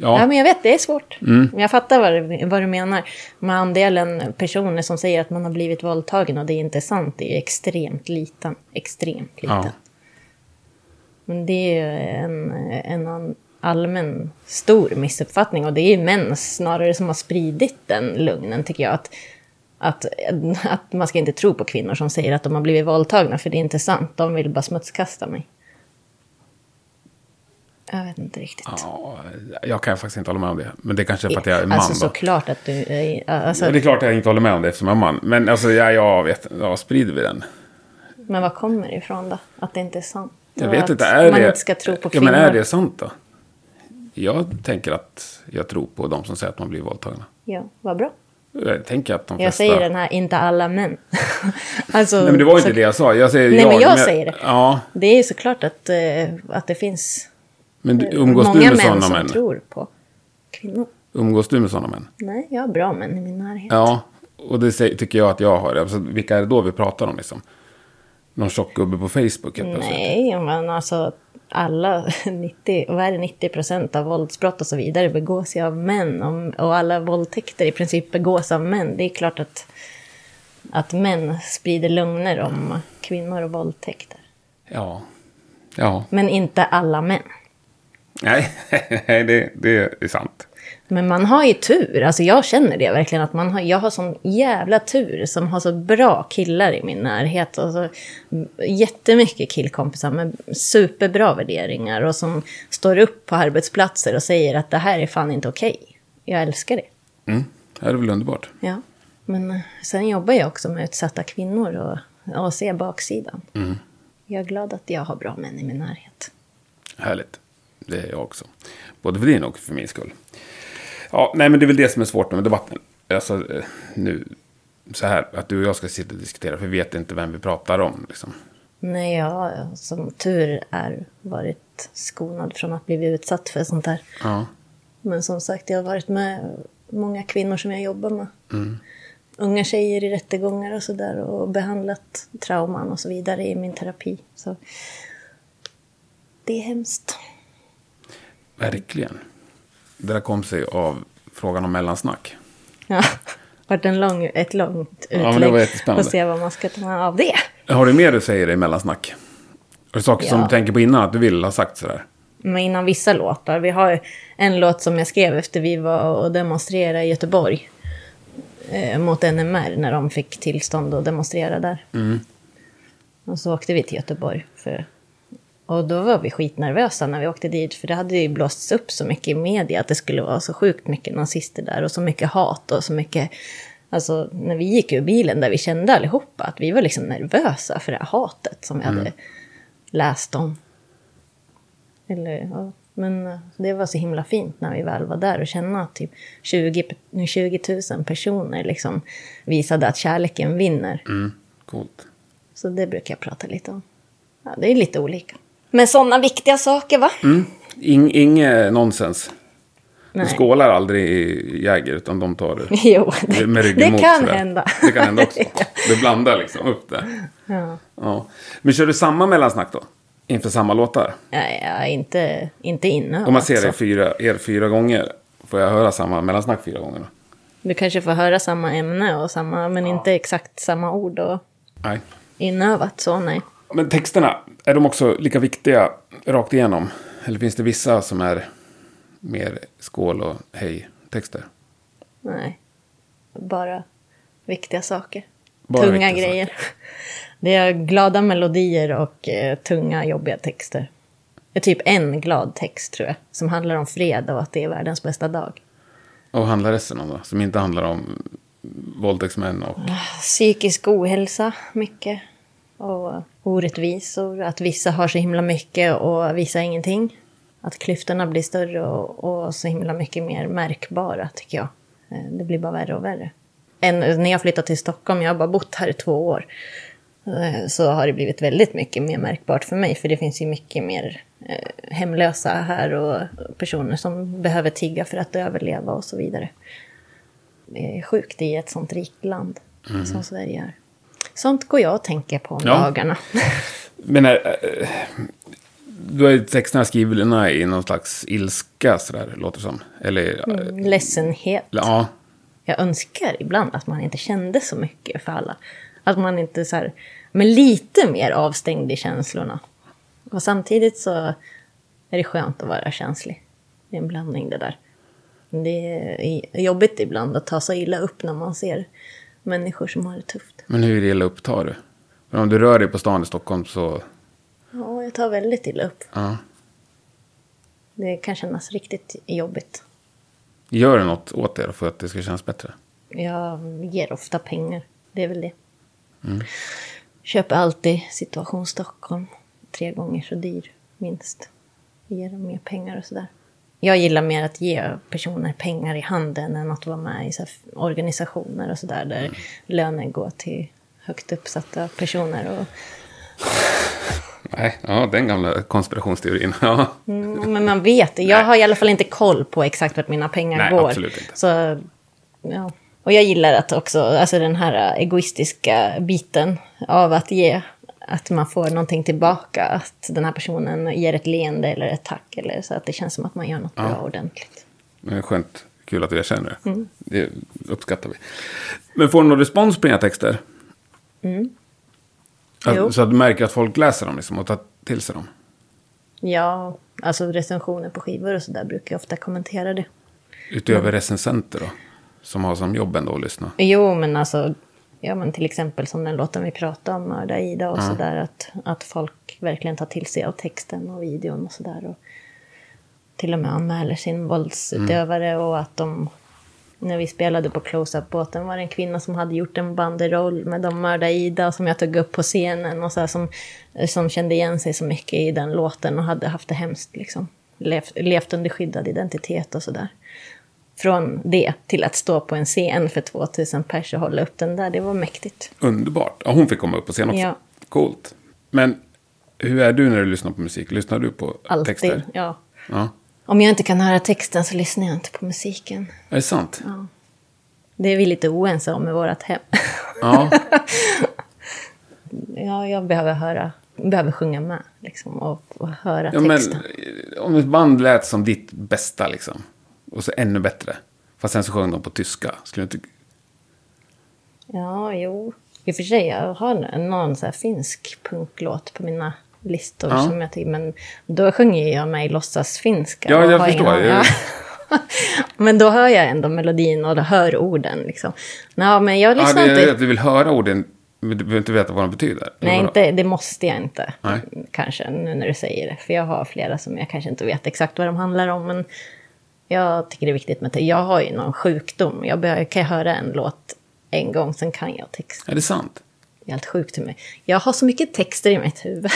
S1: Ja.
S3: Ja,
S1: men jag vet, det är svårt. Men Jag fattar vad du, vad du menar. Men andelen personer som säger att man har blivit våldtagen och det är inte sant, det är ju extremt liten. Extremt liten.
S3: Ja.
S1: Men det är ju en, en an- allmän stor missuppfattning och det är ju män snarare som har spridit den lugnen tycker jag. Att, att, att man ska inte tro på kvinnor som säger att de har blivit våldtagna för det är inte sant, de vill bara smutskasta mig. Jag vet inte riktigt.
S3: ja, jag kan faktiskt inte hålla med om det. Men det kanske är för att jag är man
S1: Alltså
S3: då.
S1: såklart att du... eh, Alltså,
S3: Ja, det är klart jag inte håller med om det eftersom jag är man. Men alltså, ja, jag vet ja, sprider vi den?
S1: Men var kommer det ifrån då? Att det inte är sant?
S3: Jag
S1: Och
S3: vet
S1: att
S3: inte, är
S1: man
S3: det...
S1: inte ska tro på
S3: ja,
S1: kvinnor?
S3: men är det sant då? Jag tänker att jag tror på de som säger att man blir våldtagna.
S1: Ja, vad bra.
S3: Jag tänker att de
S1: Jag
S3: flesta...
S1: säger den här, inte alla män. [LAUGHS] alltså,
S3: Nej, men det var ju
S1: så-
S3: inte det jag sa. Jag säger
S1: Nej,
S3: jag,
S1: men jag säger det.
S3: Ja,
S1: Det är ju såklart att, eh, att det finns
S3: men du- umgås
S1: många
S3: du med
S1: män
S3: sådana
S1: som
S3: män?
S1: tror på kvinnor.
S3: Umgås du med sådana män?
S1: Nej, jag har bra män i min närhet.
S3: Ja, och det säger, tycker jag att jag har. Alltså, vilka är det då vi pratar om liksom? Någon tjock gubbe på Facebook helt plötsligt?
S1: Nej, men alltså alla [LAUGHS] 90, vad är det, 90 procent av våldsbrott och så vidare begås ju av män och, och alla våldtäkter i princip begås av män. Det är klart att att män sprider lögner om kvinnor och våldtäkter.
S3: Ja. Ja.
S1: Men inte alla män.
S3: Nej, [LAUGHS] nej, det, det är sant.
S1: Men man har ju tur. Alltså jag känner det verkligen. att man har, Jag har sån jävla tur som har så bra killar i min närhet. Och så, jättemycket killkompisar med superbra värderingar. Och som står upp på arbetsplatser och säger att det här är fan inte okej. Jag älskar det.
S3: Mm. Det är väl underbart.
S1: Ja. Men eh, sen jobbar jag också med utsatta kvinnor och, och ser baksidan. Jag är glad att jag har bra män i min närhet.
S3: Härligt. Det är jag också. Både för din och för min skull. Ja, nej, men det är väl det som är svårt med debatten. Alltså, eh, nu, så här, att du och jag ska sitta och diskutera, för vi vet inte vem vi pratar om. Liksom.
S1: Nej, jag har som tur är varit skonad från att bli utsatt för sånt här.
S3: Ja.
S1: Men som sagt, jag har varit med många kvinnor som jag jobbar med.
S3: Mm.
S1: Unga tjejer i rättegångar och sådär och behandlat trauman och så vidare i min terapi. Så det är hemskt.
S3: Verkligen. Det där kom sig av frågan om mellansnack.
S1: [LAUGHS] Ja, det har varit en lång, ett långt
S3: men det
S1: utlägg.
S3: var jättespännande.
S1: Och se vad man ska ta av det.
S3: Har du mer du säger i mellansnack? Har du saker som
S1: Ja.
S3: du tänker på innan att du vill ha sagt sådär?
S1: Men innan vissa låtar. Vi har en låt som jag skrev efter vi var och demonstrerade i Göteborg. Eh, mot NMR när de fick tillstånd att demonstrera där. Och så åkte vi till Göteborg. För, och då var vi skitnervösa när vi åkte dit. För det hade ju blåsts upp så mycket i media att det skulle vara så sjukt mycket nazister där. Och så mycket hat och så mycket... Alltså när vi gick ur bilen där vi kände allihopa att vi var liksom nervösa för det här hatet som vi hade läst om. Eller, ja. Men eh, det var så himla fint när vi väl var där och känna att typ 20, pe- 20 000 personer liksom visade att kärleken vinner.
S3: Mm. Coolt.
S1: Så det brukar jag prata lite om. Ja, det är lite olika. Men sådana viktiga saker va?
S3: Mm. Ing, inget nonsens. Du
S1: Nej.
S3: skålar aldrig i Jäger, utan de tar det.
S1: [LAUGHS] Jo, det,
S3: Med ryggen
S1: det
S3: mot
S1: kan
S3: sådär.
S1: hända.
S3: Det kan hända också. Du blandar liksom upp det.
S1: [LAUGHS] ja.
S3: Ja. Men kör du samma mellansnack då? Inför samma låtar?
S1: Nej, ja, inte, inte inne. alltså.
S3: Om man ser dig fyra, er fyra gånger, får jag höra samma mellansnack fyra gånger? då?
S1: Du kanske får höra samma ämne och samma, men inte exakt samma ord och
S3: Nej.
S1: inövat så nej.
S3: Men texterna, är de också lika viktiga rakt igenom? Eller finns det vissa som är mer skål och hej-texter?
S1: Nej. Bara viktiga saker.
S3: Bara
S1: tunga
S3: viktiga saker.
S1: grejer. [LAUGHS] Det är glada melodier och eh, tunga, jobbiga texter. Det är typ en glad text, tror jag, som handlar om fred och att det är världens bästa dag.
S3: Och vad handlar resten om då? Som inte handlar om våldtäktsmän och...
S1: Psykisk ohälsa, mycket. Och orättvisor, att vissa har så himla mycket och vissa ingenting. Att klyftorna blir större och, och så himla mycket mer märkbara, tycker jag. Eh, Det blir bara värre och värre. En, när jag flyttade till Stockholm, jag har bara bott här i två år, eh, så har det blivit väldigt mycket mer märkbart för mig, för det finns ju mycket mer eh, hemlösa här och personer som behöver tigga för att överleva och så vidare eh, sjukt i ett sånt rikt land som Sverige är. Sånt går jag och tänker på om
S3: Mhm. Ja.
S1: dagarna. [LAUGHS]
S3: Men är, eh, då är texterna skrivna i någon slags ilska sådär, låter det som. Eller...
S1: Mm.
S3: eh,
S1: Ledsenhet.
S3: Ja.
S1: Jag önskar ibland att man inte kände så mycket för alla. Att man inte så här, men lite mer avstängd i känslorna. Och samtidigt så är det skönt att vara känslig. Det är en blandning det där. Det är jobbigt ibland att ta så illa upp när man ser människor som har det tufft.
S3: Men hur illa upp tar du? För om du rör dig på stan i Stockholm så...
S1: Ja, jag tar väldigt illa upp.
S3: Ja.
S1: Det kan kännas riktigt jobbigt.
S3: Gör du något åt det då för att det ska kännas bättre?
S1: Jag ger ofta pengar. Det är väl det. Köper alltid Situation Stockholm. Tre gånger så dyr, minst. Ger dem mer pengar och sådär. Jag gillar mer att ge personer pengar i handen än att vara med i så här organisationer och sådär där löner går till högt uppsatta personer. Och,
S3: Nej, ja, den gamla konspirationsteorin. [LAUGHS] Ja.
S1: Mm, men man vet, jag har i alla fall inte koll på exakt vart mina pengar
S3: Nej,
S1: går.
S3: absolut inte.
S1: Så, ja. Och jag gillar att också, alltså den här äh, egoistiska biten av att ge, att man får någonting tillbaka, att den här personen ger ett leende eller ett tack, eller så att det känns som att man gör något bra ordentligt.
S3: Men Skönt, kul att du erkänner det. Det uppskattar vi. Men får du någon respons på dina texter?
S1: Jo.
S3: Att, så att du märker att folk läser dem liksom, och tar till sig dem.
S1: Ja, alltså recensioner på skivor och sådär brukar jag ofta kommentera det.
S3: Utöver
S1: Mm.
S3: recensenter då. Som har som jobb ändå att lyssna.
S1: Jo, men alltså, ja men till exempel som den låten vi pratade om, Mörda Ida och sådär, att, att folk verkligen tar till sig av texten och videon och sådär. Och till och med anmäler sin våldsutövare och att de, när vi spelade på Close-Up-båten var det en kvinna som hade gjort en banderoll med de Mörda Ida som jag tog upp på scenen och så här, som, som kände igen sig så mycket i den låten och hade haft det hemskt liksom. Levt, levt under skyddad identitet och sådär från det till att stå på en scen för 2000 pers och hålla upp den där, det var mäktigt.
S3: Underbart. Ja, hon fick komma upp på scen också.
S1: Ja.
S3: Coolt. Men hur är du när du lyssnar på musik? Lyssnar du på
S1: Alltid.
S3: texter?
S1: Ja.
S3: Ja.
S1: Om jag inte kan höra texten så lyssnar jag inte på musiken.
S3: Är det sant?
S1: Det är vi lite oense om i vårt hem. [LAUGHS]
S3: Ja.
S1: ja, jag behöver höra, behöver sjunga med liksom, och, och höra [LAUGHS]
S3: ja men,
S1: texten.
S3: eh, om ett band lät som ditt bästa liksom. Och så ännu bättre. Fast sen så sjöng de på tyska. Skulle du inte...
S1: Ja, jo. I och för sig, jag har någon så här finsk punklåt på mina listor
S3: Ja.
S1: som jag tycker, men då sjunger jag mig låtsas finska.
S3: Ja, jag förstår.
S1: Ja. [LAUGHS] men då hör jag ändå melodin och då hör orden liksom. Ja, men jag
S3: Ja,
S1: lyssnar
S3: det är
S1: inte.
S3: att du vill höra orden, men du behöver inte veta vad de betyder.
S1: Nej,
S3: Eller vadå?
S1: inte, det måste jag inte.
S3: Nej.
S1: Kanske, nu när du säger det. För jag har flera som jag kanske inte vet exakt vad de handlar om. Men jag tycker det är viktigt med text. Jag har ju någon sjukdom. Jag behöver, kan jag höra en låt en gång, sen kan jag text.
S3: Är det sant?
S1: Det är helt sjukt för mig. Jag har så mycket texter i mitt huvud.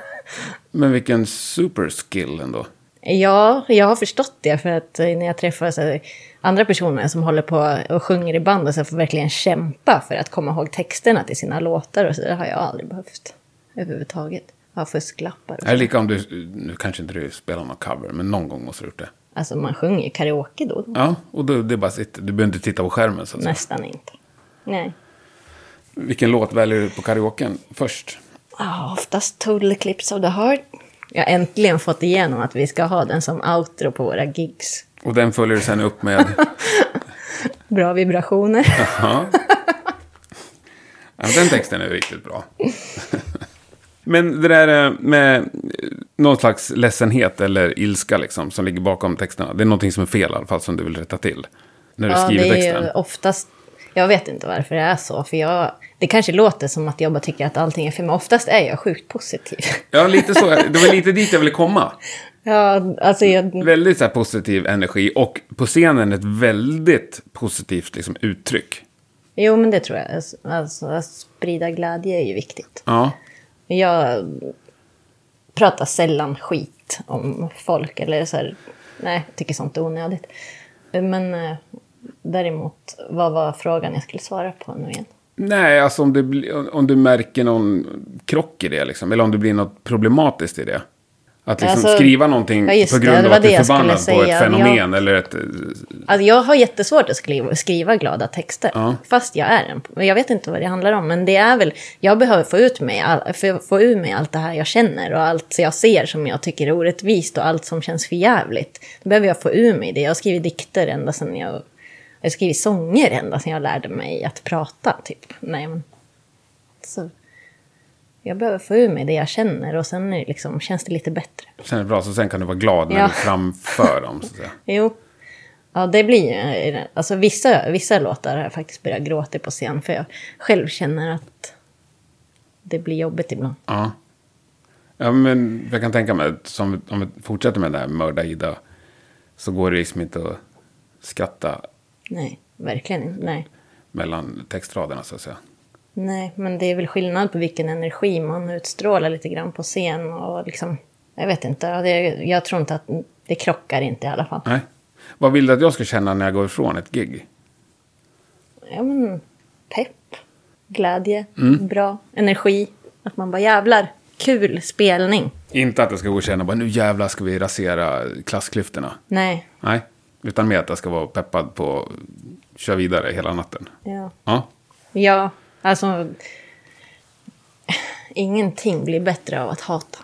S1: [LAUGHS]
S3: Men vilken superskill ändå.
S1: ja, jag har förstått det för att eh, när jag träffar så här, andra personer som håller på och sjunger i band och så får verkligen kämpa för att komma ihåg texterna till sina låtar och så, det har jag aldrig behövt överhuvudtaget. Jag har fusklappar. och
S3: Det
S1: så.
S3: är lika om du, nu kanske inte du spelar någon cover, men någon gång måste du gjort det.
S1: Alltså man sjunger ju karaoke då,
S3: Ja, och då, det bara sitter. Du behöver inte titta på skärmen så att säga.
S1: nästan inte. Nej.
S3: Vilken låt väljer du på karaoken först?
S1: Ja, Ah, oftast Total Eclipse of the Heart. Jag har äntligen fått igenom att vi ska ha den som outro på våra gigs.
S3: Och den följer du sen
S1: [LAUGHS]
S3: upp med...
S1: Bra vibrationer. [LAUGHS]
S3: Ja. ja den texten är ju riktigt bra. [LAUGHS] Men det där eh, med eh, någon slags ledsenhet eller ilska liksom, som ligger bakom texterna. Det är någonting som är fel i alla fall som du vill rätta till. När du
S1: Ja,
S3: skriver
S1: det
S3: texten.
S1: är ju oftast... Jag vet inte varför det är så, för jag... Det kanske låter som att jag bara tycker att allting är fel, men oftast är jag sjukt positiv.
S3: [LAUGHS] Ja, lite så. Det var lite dit jag ville komma.
S1: Ja, alltså jag...
S3: Väldigt så här, positiv energi och på scenen ett väldigt positivt liksom, uttryck.
S1: Jo, men det tror jag. Alltså, att sprida glädje är ju viktigt.
S3: Ja.
S1: Jag pratar sällan skit om folk, eller så här... Nej, jag tycker sånt är onödigt. Men eh, däremot, vad var frågan jag skulle svara på nu igen?
S3: Nej, alltså om du, bli- om du märker någon krock i det, liksom, eller om det blir något problematiskt i det. Att liksom
S1: Alltså,
S3: skriva någonting
S1: ja, just
S3: på
S1: det,
S3: grund
S1: det
S3: av
S1: var
S3: att du
S1: det
S3: är
S1: jag skulle
S3: förbannad på
S1: säga.
S3: ett fenomen eller ett... eh,
S1: Alltså jag har jättesvårt att skriva, skriva glada texter,
S3: Ja.
S1: fast jag är en. Jag vet inte vad det handlar om, men det är väl... Jag behöver få ut mig, all, få- få ur mig allt det här jag känner och allt jag ser som jag tycker är orättvist och allt som känns för jävligt. Då behöver jag få ur mig det. Jag har skrivit dikter ända sedan jag... Jag har skrivit sånger ända sedan jag lärde mig att prata, typ. Nej, men... Så. Jag behöver få ur mig det jag känner och sen är det liksom, känns det lite bättre.
S3: Känner bra, så sen kan du vara glad när
S1: Ja.
S3: du framför dem. Så att säga.
S1: Jo. Ja, det blir ju... Alltså vissa, vissa låtar har jag faktiskt börjat gråta på scen för jag själv känner att det blir jobbigt ibland.
S3: Ja. ja, men jag kan tänka mig att som, om vi fortsätter med det här mörda Ida så går det liksom inte att skratta
S1: Nej, verkligen inte. Nej.
S3: mellan textraderna så att säga.
S1: Nej, men det är väl skillnad på vilken energi man utstrålar lite grann på scen och liksom... Jag vet inte. Ja, Det, jag tror inte att... Det krockar inte i alla fall.
S3: Nej. Vad vill du att jag ska känna när jag går ifrån ett gig?
S1: Ja, men pepp, glädje, bra energi. Att man bara jävlar, kul spelning.
S3: Inte att jag ska gå och känna bara nu jävlar ska vi rasera klassklyftorna.
S1: Nej,
S3: Nej, utan mer att jag ska vara peppad på att köra vidare hela natten.
S1: ja.
S3: Ja,
S1: Ja, alltså... Ingenting blir bättre av att hata.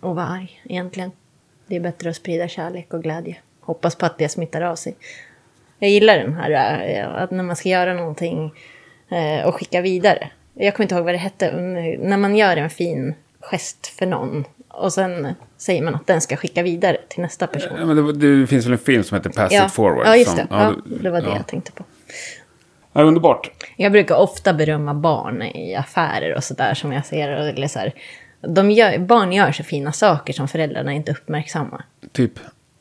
S1: Och vara arg, egentligen. Det är bättre att sprida kärlek och glädje. Hoppas på att det smittar av sig. Jag gillar den här, eh, att när man ska göra någonting eh, och skicka vidare. Jag kommer inte ihåg vad det hette, men när man gör en fin gest för någon och sen säger man att den ska skicka vidare till nästa person.
S3: Ja, Eh, men det, var- det finns väl en film som heter Pass
S1: Ja,
S3: It Forward.
S1: ja just
S3: som-
S1: det. Ja, det var det
S3: ja.
S1: jag tänkte på.
S3: Ja, underbart.
S1: Jag brukar ofta berömma barn i affärer och sådär som jag ser. och- Eller så här, de gör, barn gör så fina saker som föräldrarna inte uppmärksammar.
S3: Typ.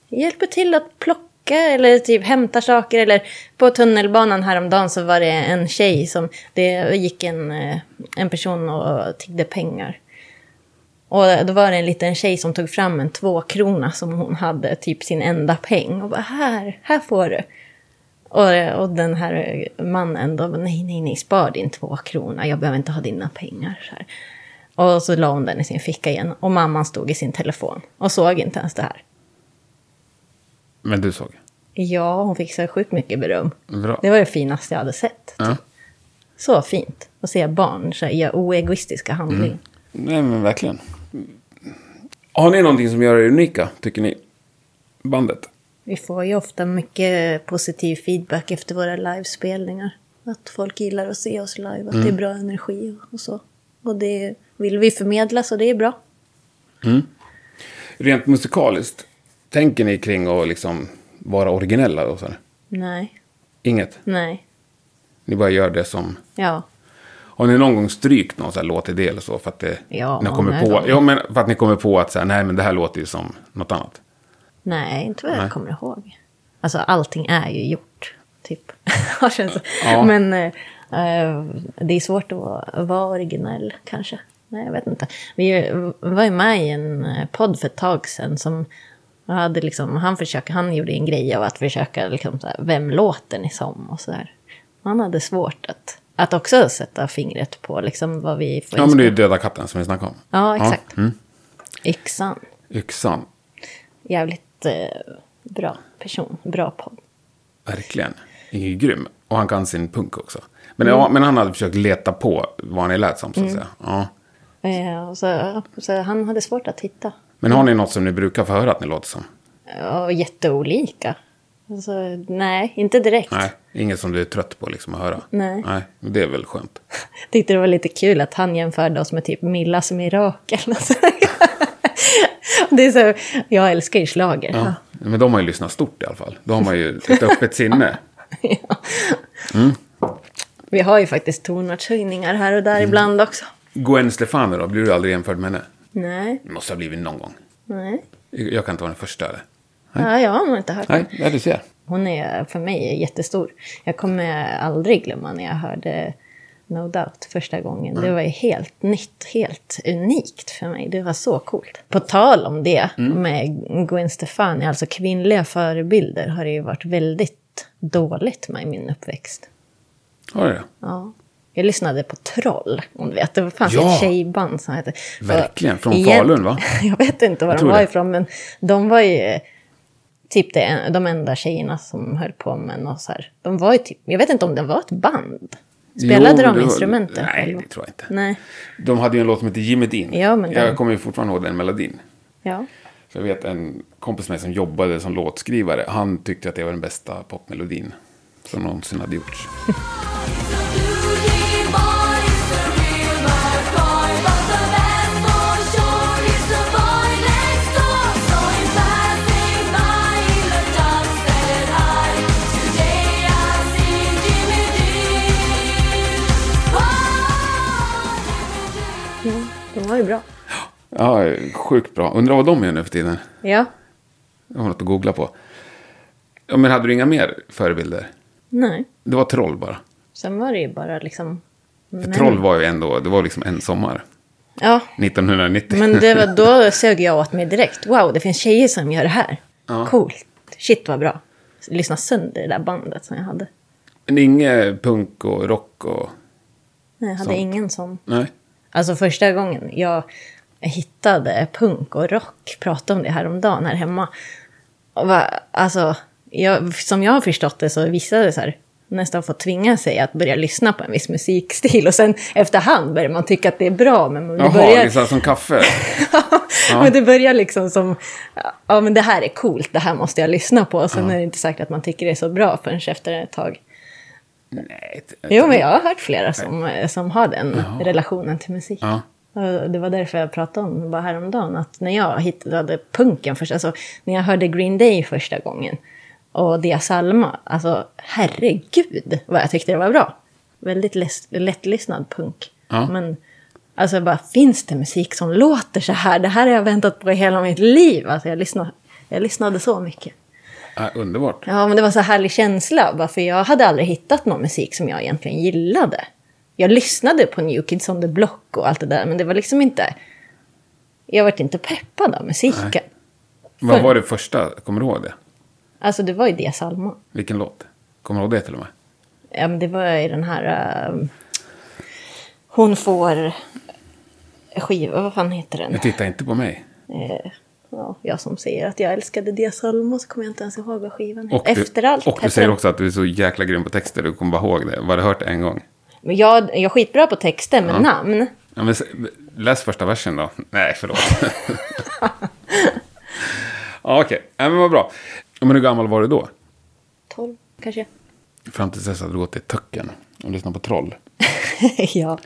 S1: Hjälper till att plocka eller typ hämtar saker. Eller på tunnelbanan häromdagen så var det en tjej som... Det gick en, eh, en person och tiggde pengar. Och då var det en liten tjej som tog fram en tvåkrona som hon hade, typ sin enda peng. Och bara här, här får du. Och, och den här mannen då, nej, nej, nej, spar din tvåkrona, jag behöver inte ha dina pengar. Så här. Och så la hon den i sin ficka igen och mamman stod i sin telefon och såg inte ens det här.
S3: Men du såg.
S1: Ja, hon fick så sjukt mycket beröm.
S3: Bra.
S1: Det var det finaste jag hade sett.
S3: Ja.
S1: Så fint att se barn så här, göra oegoistiska handling.
S3: Nej, men verkligen. Har ni någonting som gör er unika, tycker ni? Bandet?
S1: Vi får ju ofta mycket positiv feedback efter våra livespelningar. Att folk gillar att se oss live, att det är bra energi och så. Och det vill vi förmedla, så det är bra.
S3: Rent musikaliskt, tänker ni kring att liksom vara originella och sådär?
S1: Nej,
S3: Inget?
S1: nej,
S3: Ni bara gör det som...
S1: ja.
S3: Har ni någon gång strykt någon sån här låtidé eller så? För att, det,
S1: Ja,
S3: ni har kommit
S1: många
S3: på,
S1: gånger.
S3: ja, men för att ni kommer på att så här, nej, men det här låter ju som något annat.
S1: Nej, inte vad jag
S3: Nej.
S1: kommer ihåg. Alltså allting är ju gjort, typ. [LAUGHS] Har känts så.
S3: Ja.
S1: Men eh, eh, det är svårt att vara, vara originell kanske. Nej, jag vet inte. Vi var ju med i en eh, podd för ett tag sedan som hade liksom, han, försökte, han gjorde en grej av att försöka, liksom, så här, vem låter ni som och sådär. Han hade svårt att, att också sätta fingret på liksom, vad vi får
S3: Ja, men det är mm. ju
S1: inspiration-
S3: Döda katten som vi snackade om.
S1: ja, exakt. Yxan.
S3: Yxan,
S1: Jävligt eh, bra person, bra podd.
S3: verkligen. Det är ju grym. Och han kan sin punk också. Men, ja, men han hade försökt leta på vad ni lät som, så att
S1: Mm.
S3: säga. Ja.
S1: Eh, och Så, så han hade svårt att hitta.
S3: Men har ni något som ni brukar få höra att ni låter som?
S1: Och jätteolika. Alltså, nej, inte direkt.
S3: Nej, inget som du är trött på liksom att höra?
S1: Nej.
S3: Nej, men det är väl skönt.
S1: [LAUGHS] Tyckte det var lite kul att han jämförde oss med typ Millas Mirakel. och så. [LAUGHS] det är så, jag älskar ju schlager. [LAUGHS]
S3: Ja. Men de har ju lyssnat stort i alla fall. Då har man ju ett öppet sinne. Mm.
S1: Vi har ju faktiskt tonartshöjningar här och
S3: Mm.
S1: där ibland också.
S3: Gwen Stefani då, blir du aldrig jämförd med henne?
S1: Nej,
S3: Det måste ha blivit någon gång.
S1: nej.
S3: Jag kan inte vara den första. Eller?
S1: Ja, jag har nog inte hört
S3: Nej, ja, du ser.
S1: Hon är för mig jättestor. Jag kommer aldrig glömma när jag hörde No Doubt första gången. Det var ju helt nytt, helt unikt för mig. Det var så coolt. På tal om det med Gwen Stefani, alltså kvinnliga förebilder har det ju varit väldigt dåligt med i min uppväxt.
S3: Har du det?
S1: Ja. Jag lyssnade på Troll, om du vet. Det fanns
S3: Ja.
S1: ett tjejband som hette...
S3: Verkligen,
S1: Och
S3: från Falun, va?
S1: [LAUGHS] jag vet inte var de
S3: tror
S1: var
S3: det.
S1: ifrån, men de var ju eh, typ det, de enda tjejerna som höll på med något så här. De var ju typ, jag vet inte om det var ett band. Spelade
S3: Jo,
S1: de
S3: det var-
S1: instrumenten?
S3: Nej,
S1: själva?
S3: det tror jag inte.
S1: Nej,
S3: De hade ju en låt som hette Jimmy Dean.
S1: Ja, men den-
S3: Jag kommer ju fortfarande ihåg den melodin.
S1: ja.
S3: För jag vet en kompis med mig som jobbade som låtskrivare. Han tyckte att det var den bästa popmelodin som någonsin hade gjorts.
S1: de var ju bra.
S3: Ja, sjukt bra. Undrar vad de gör nu för tiden.
S1: Ja,
S3: Jag har något att googla på. Ja, men hade du inga mer förebilder?
S1: nej.
S3: Det var troll bara.
S1: Sen var det ju bara liksom...
S3: För troll var ju ändå, det var liksom en sommar.
S1: Ja,
S3: 1990.
S1: men det var, då sög jag åt mig direkt. Wow, det finns tjejer som gör det här.
S3: Ja.
S1: Coolt. Shit vad bra. Lyssna sönder det där bandet som jag hade.
S3: [LAUGHS] Men inget punk och rock och...
S1: Nej, jag hade
S3: Sånt.
S1: ingen sån.
S3: Nej.
S1: Alltså första gången jag hittade punk och rock, pratade om det häromdagen här hemma. Och va- Alltså, jag, som jag har förstått det så visade det så här, nästan få tvinga sig att börja lyssna på en viss musikstil. Och sen efterhand börjar man tycka att det är bra, men man
S3: Jaha,
S1: börjar...
S3: liksom som kaffe.
S1: [LAUGHS] men det börjar liksom som, ja men det här är coolt, det här måste jag lyssna på. Och sen är det inte säkert att man tycker det är så bra förrän efter ett tag.
S3: Nej. t-
S1: Jo, men jag har hört flera som, eh, som har den relationen till musik.
S3: Ja.
S1: Och Eh, Det var därför jag pratade om bara häromdagen, att när jag hittade punken först, alltså när jag hörde Green Day första gången och Dia Salma, alltså herregud vad jag tyckte det var bra. Väldigt läs- lättlyssnad punk.
S3: Ja.
S1: Men alltså bara, finns det musik som låter så här? Det här har jag väntat på i hela mitt liv. Alltså jag lyssnade, jag lyssnade så mycket.
S3: Ja, underbart.
S1: Ja, men det var så härlig känsla. Bara för jag hade aldrig hittat någon musik som jag egentligen gillade. Jag lyssnade på New Kids on the Block och allt det där, men det var liksom inte... Jag vart inte peppad av musiken.
S3: Vad var det första? Kommer du ihåg det?
S1: Alltså, det var ju det Salma.
S3: Vilken låt? Kommer du ihåg det till och med?
S1: Ja, men det var ju den här... ehm, hon får... Skiva, vad fan heter den?
S3: Jag tittar inte på mig.
S1: Eh, ja, jag som säger att jag älskade Dia Salma så kommer jag inte ens ihåg vad skivan
S3: Och
S1: heter. Efter
S3: du,
S1: allt
S3: Och du
S1: heter
S3: säger
S1: den.
S3: också att du är så jäkla grym på texter. Du kommer bara ihåg det. Bara hört det en gång.
S1: Men jag, jag är skitbra på texter, men namn...
S3: Ja, men, s- läs första versen då. Nej, förlåt. ja, okej. Ja, men vad bra. Ja, Men hur gammal var du då?
S1: 12 kanske.
S3: Fram till dess hade du gått till Töcken och lyssnat på Troll.
S1: [LAUGHS] ja.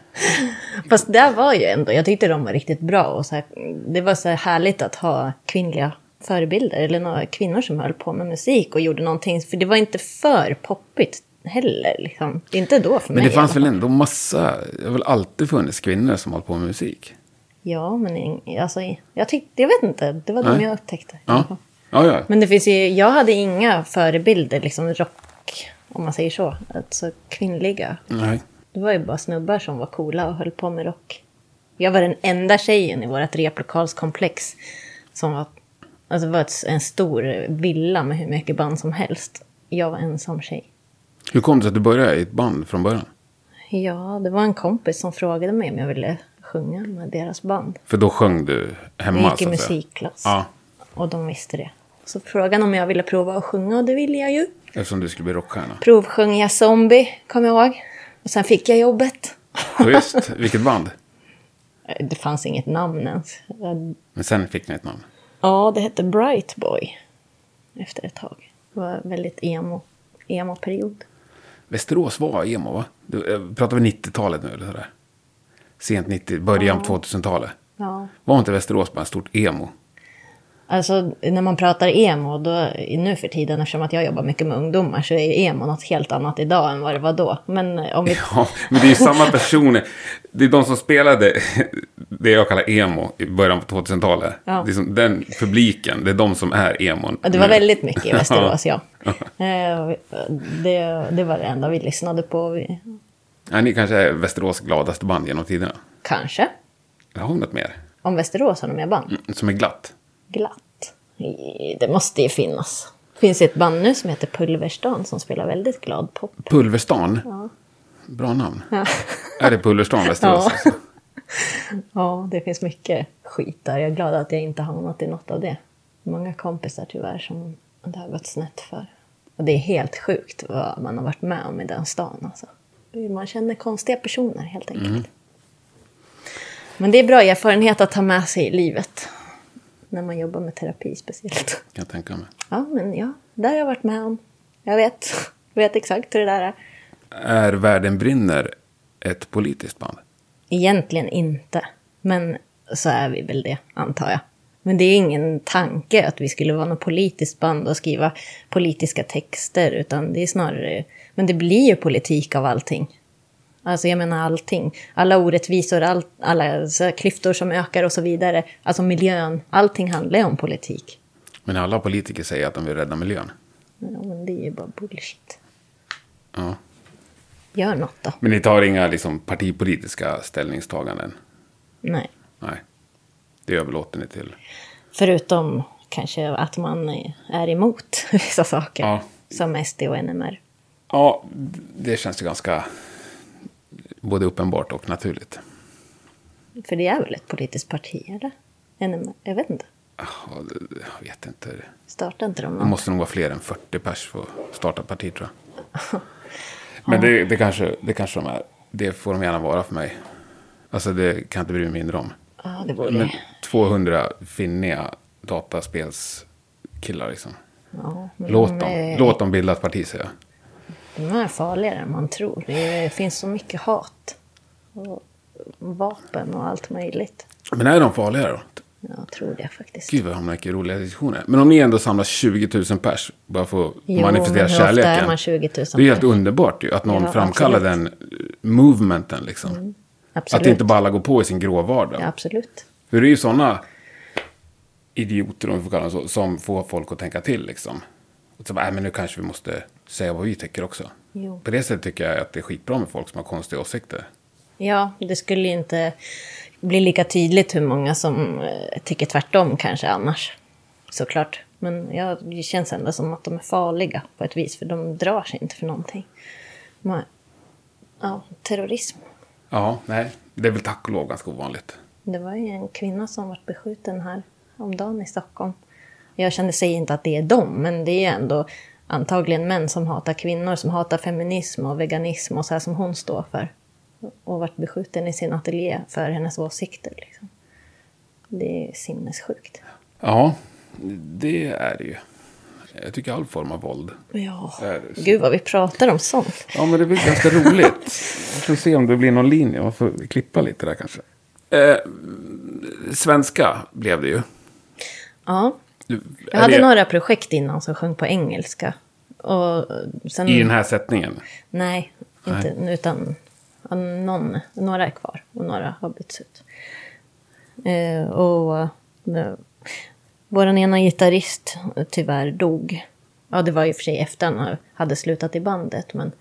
S1: Fast där var ju ändå, jag tyckte de var riktigt bra och så här, det var så här härligt att ha kvinnliga förebilder eller några kvinnor som höll på med musik och gjorde någonting, för det var inte för poppigt heller liksom. Inte då för
S3: Men
S1: mig.
S3: det fanns
S1: i alla
S3: väl
S1: fall.
S3: ändå massa, det har väl alltid funnits kvinnor som hållit på med musik?
S1: Ja, men ing- alltså, jag tyckte, jag vet inte, det var de
S3: Nej.
S1: jag upptäckte. i alla
S3: Ja,
S1: fall.
S3: ja, ja.
S1: Men det finns ju, jag hade inga förebilder, liksom rock, om man säger så, alltså kvinnliga
S3: Nej.
S1: Det var ju bara snubbar som var coola och höll på med rock. Jag var den enda tjejen i vårt replokalskomplex som var... Alltså det var ett, en stor villa med hur mycket band som helst. Jag var ensam tjej.
S3: Hur kom det sig att du började i ett band från början?
S1: Ja, det var en kompis som frågade mig om jag ville sjunga med deras band.
S3: För då sjöng du hemma,
S1: Jag gick i
S3: så att säga.
S1: musikklass.
S3: Ja,
S1: Och de visste det. Så frågade om jag ville prova att sjunga och det ville jag ju.
S3: eftersom du skulle bli rockstjärna.
S1: Provsjöng jag Zombie, kommer jag ihåg. Och sen fick jag jobbet.
S3: Ja, just. Vilket band?
S1: Det fanns inget namn ens. Jag
S3: Men sen fick ni ett namn.
S1: Ja, det hette Bright Boy efter ett tag. Det var väldigt emo, emo-period.
S3: Västerås var emo, va? Du, eh, pratar vi 90-talet nu, eller sådär? Sent 90, början på 2000-talet.
S1: Ja.
S3: Var inte Västerås bara en stort emo? [LAUGHS]
S1: Alltså, när man pratar emo, då, nu för tiden, eftersom att jag jobbar mycket med ungdomar, så är ju emo något helt annat idag än vad det var då. Men eh, om vi...
S3: Ja, men det är ju samma personer. Det är de som spelade [LAUGHS] det jag kallar emo i början på 2000-talet.
S1: Ja.
S3: Det är som den publiken, det är de som är emon.
S1: [LAUGHS] Ja, Det var
S3: nu.
S1: väldigt mycket i
S3: [LAUGHS]
S1: Västerås, [LAUGHS] ja. Eh, Det, det var det enda vi lyssnade på. Vi,
S3: Ja, ni kanske är Västerås gladaste band genom tiderna.
S1: kanske.
S3: Eller har vi något mer?
S1: Om Västerås har de mer band.
S3: Som är glatt?
S1: Glatt. I- Det måste ju finnas. Det finns ju ett band nu som heter Pulverstan som spelar väldigt glad pop.
S3: Pulverstan? Bra namn.
S1: [LAUGHS]
S3: Är det Pulverstan, Västerås?
S1: Ja.
S3: Alltså?
S1: [LAUGHS] Ja, det finns mycket skit där. Jag är glad att jag inte hamnat i något av det. Många kompisar tyvärr som det har gått snett för. Och det är helt sjukt vad man har varit med om i den stan. Alltså. Man känner konstiga personer helt enkelt. Men det är bra erfarenhet att ta med sig i livet. När man jobbar med terapi speciellt.
S3: Kan jag tänka mig.
S1: Ja, men ja, det har jag varit med om. Jag vet, vet exakt hur det där är.
S3: Är Världen brinner ett politiskt band?
S1: Egentligen inte, men så är vi väl det, antar jag. Men det är ingen tanke att vi skulle vara något politiskt band och skriva politiska texter, utan det är snarare... Men det blir ju politik av allting. Alltså jag menar allting. Alla orättvisor, all, alla så här klyftor som ökar och så vidare. Alltså miljön, allting handlar ju om politik.
S3: Men alla politiker säger att de vill rädda miljön.
S1: Ja, men det är ju bara bullshit.
S3: Ja.
S1: Gör något då.
S3: Men ni tar inga liksom, partipolitiska ställningstaganden?
S1: Nej.
S3: Nej. Det överlåter ni till...
S1: Förutom kanske att man är emot [LAUGHS] vissa saker.
S3: Ja.
S1: Som SD och NMR.
S3: Ja, det känns ju ganska både uppenbart och naturligt.
S1: För det är väl ett politiskt parti, eller? NMR, jag vet inte.
S3: Ah, Jag vet inte.
S1: Startar inte de
S3: Det
S1: något?
S3: måste nog vara fler än 40 pers för att starta ett parti, tror jag. Men det, det, kanske, det kanske de är. Det får de gärna vara för mig. Alltså, det kan jag inte bry mig mindre om.
S1: Ja, det borde...
S3: Men 200 finniga dataspelskillar, liksom.
S1: ja, men
S3: Låt
S1: de
S3: dem,
S1: är-
S3: låt dem bilda ett parti, säger jag.
S1: De är farligare än man tror. Det finns så mycket hat. Och vapen och allt möjligt.
S3: Men är de farliga då?
S1: Jag tror det faktiskt.
S3: Gud vad jag hamnar i roliga diskussioner. Men om ni ändå samlar 20 000 pers bara för att manifestera
S1: men hur ofta
S3: kärleken.
S1: är man 20 000
S3: det är helt
S1: pers?
S3: underbart ju att någon
S1: Ja,
S3: framkallar den
S1: absolut. Mm,
S3: eh, movementen liksom.
S1: Absolut.
S3: Att inte bara alla går på i sin grå vardag.
S1: ja, absolut.
S3: För det är ju sådana idioter, om vi får kalla dem så, som får folk att tänka till liksom. Och så bara, "Nej, men nu kanske vi måste säga vad vi tycker också.
S1: Jo.
S3: På det sättet tycker jag att det är skitbra med folk som har konstiga åsikter.
S1: Ja, det skulle ju inte bli lika tydligt hur många som eh, tycker tvärtom kanske annars. Såklart. Men ja, det känns ändå som att de är farliga på ett vis, för de drar sig inte för någonting. Men, ja, terrorism.
S3: Ja, nej, det är väl tack och lov ganska ovanligt.
S1: Det var ju en kvinna som var beskjuten här om dagen i Stockholm. Jag känner sig inte att det är dem, men det är ändå antagligen män som hatar kvinnor, som hatar feminism och veganism och så här som hon står för. Och varit beskjuten i sin ateljé för hennes åsikter. Liksom. Det är sinnessjukt.
S3: Ja, det är det ju. Jag tycker all form av våld.
S1: Ja,
S3: är det så.
S1: gud vad vi pratar om sånt.
S3: Ja, men det blir ganska roligt. Vi får se om det blir någon linje. Man får klippa lite där kanske. Eh, svenska blev det ju.
S1: Ja.
S3: Du-
S1: Jag
S3: är
S1: hade
S3: det
S1: några projekt innan som sjöng på engelska. Och sen...
S3: I den här sättningen.
S1: Nej, inte, utan ja, någon, några är kvar och några har bytts ut. Eh, och eh, vår ena gitarrist eh, tyvärr dog. Ja, det var ju för sig efter han hade slutat i bandet, men...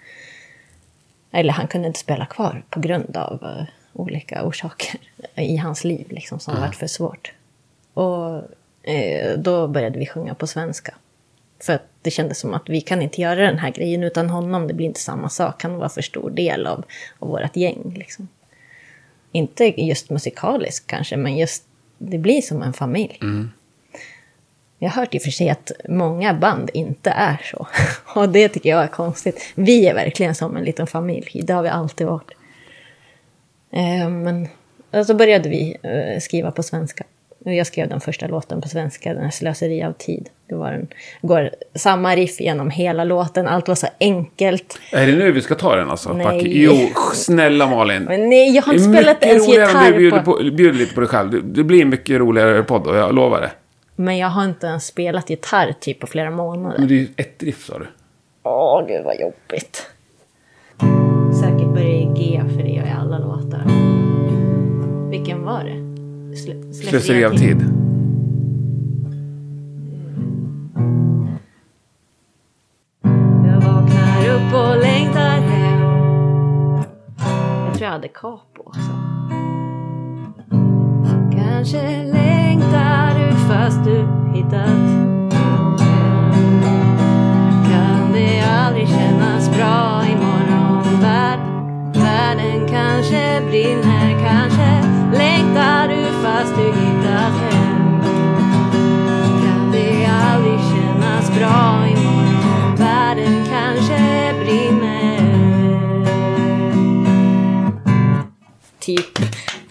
S1: Eller han kunde inte spela kvar på grund av eh, olika orsaker i hans liv, liksom, som varit för svårt. Och eh, då började vi sjunga på svenska. För att det kändes som att vi kan inte göra den här grejen utan honom. Det blir inte samma sak. Han var för stor del av, av vårt gäng. Liksom. Inte just musikaliskt kanske, men just det blir som en familj. Jag har hört i och för sig att många band inte är så. [LAUGHS] Och det tycker jag är konstigt. Vi är verkligen som en liten familj. Det har vi alltid varit. Eh, Men och så började vi eh, skriva på svenska. Och Jag skrev den första låten på svenska, den här Slöseri av tid. Det var en, går samma riff genom hela låten, allt var så enkelt.
S3: Är det nu vi ska ta den alltså?
S1: Nej.
S3: Pack- Jo, snälla Malin.
S1: Men nej, jag har inte spelat ens
S3: roligare om du
S1: gitarr
S3: bjuder,
S1: på...
S3: på, bjuder lite på dig själv. Det- Det blir en mycket roligare podd då, jag lovar det.
S1: Men jag har inte ens spelat gitarr typ på flera månader.
S3: Men det är ju ett riff sa du.
S1: Åh, gud vad jobbigt. Säkert börjar i G, för det gör jag i alla låtar. Vilken var det? Sl-
S3: Slöseri av tid.
S1: Jag vaknar upp och längtar hem. Jag tror jag hade capo också. Kanske längtar du fast du hittat hem. Kan det aldrig kännas bra imorgon? Värld, världen kanske brinner. Kanske längtar du fast du hittat hem. Kan det aldrig kännas bra imorgon? Världen kanske brinner. Typ.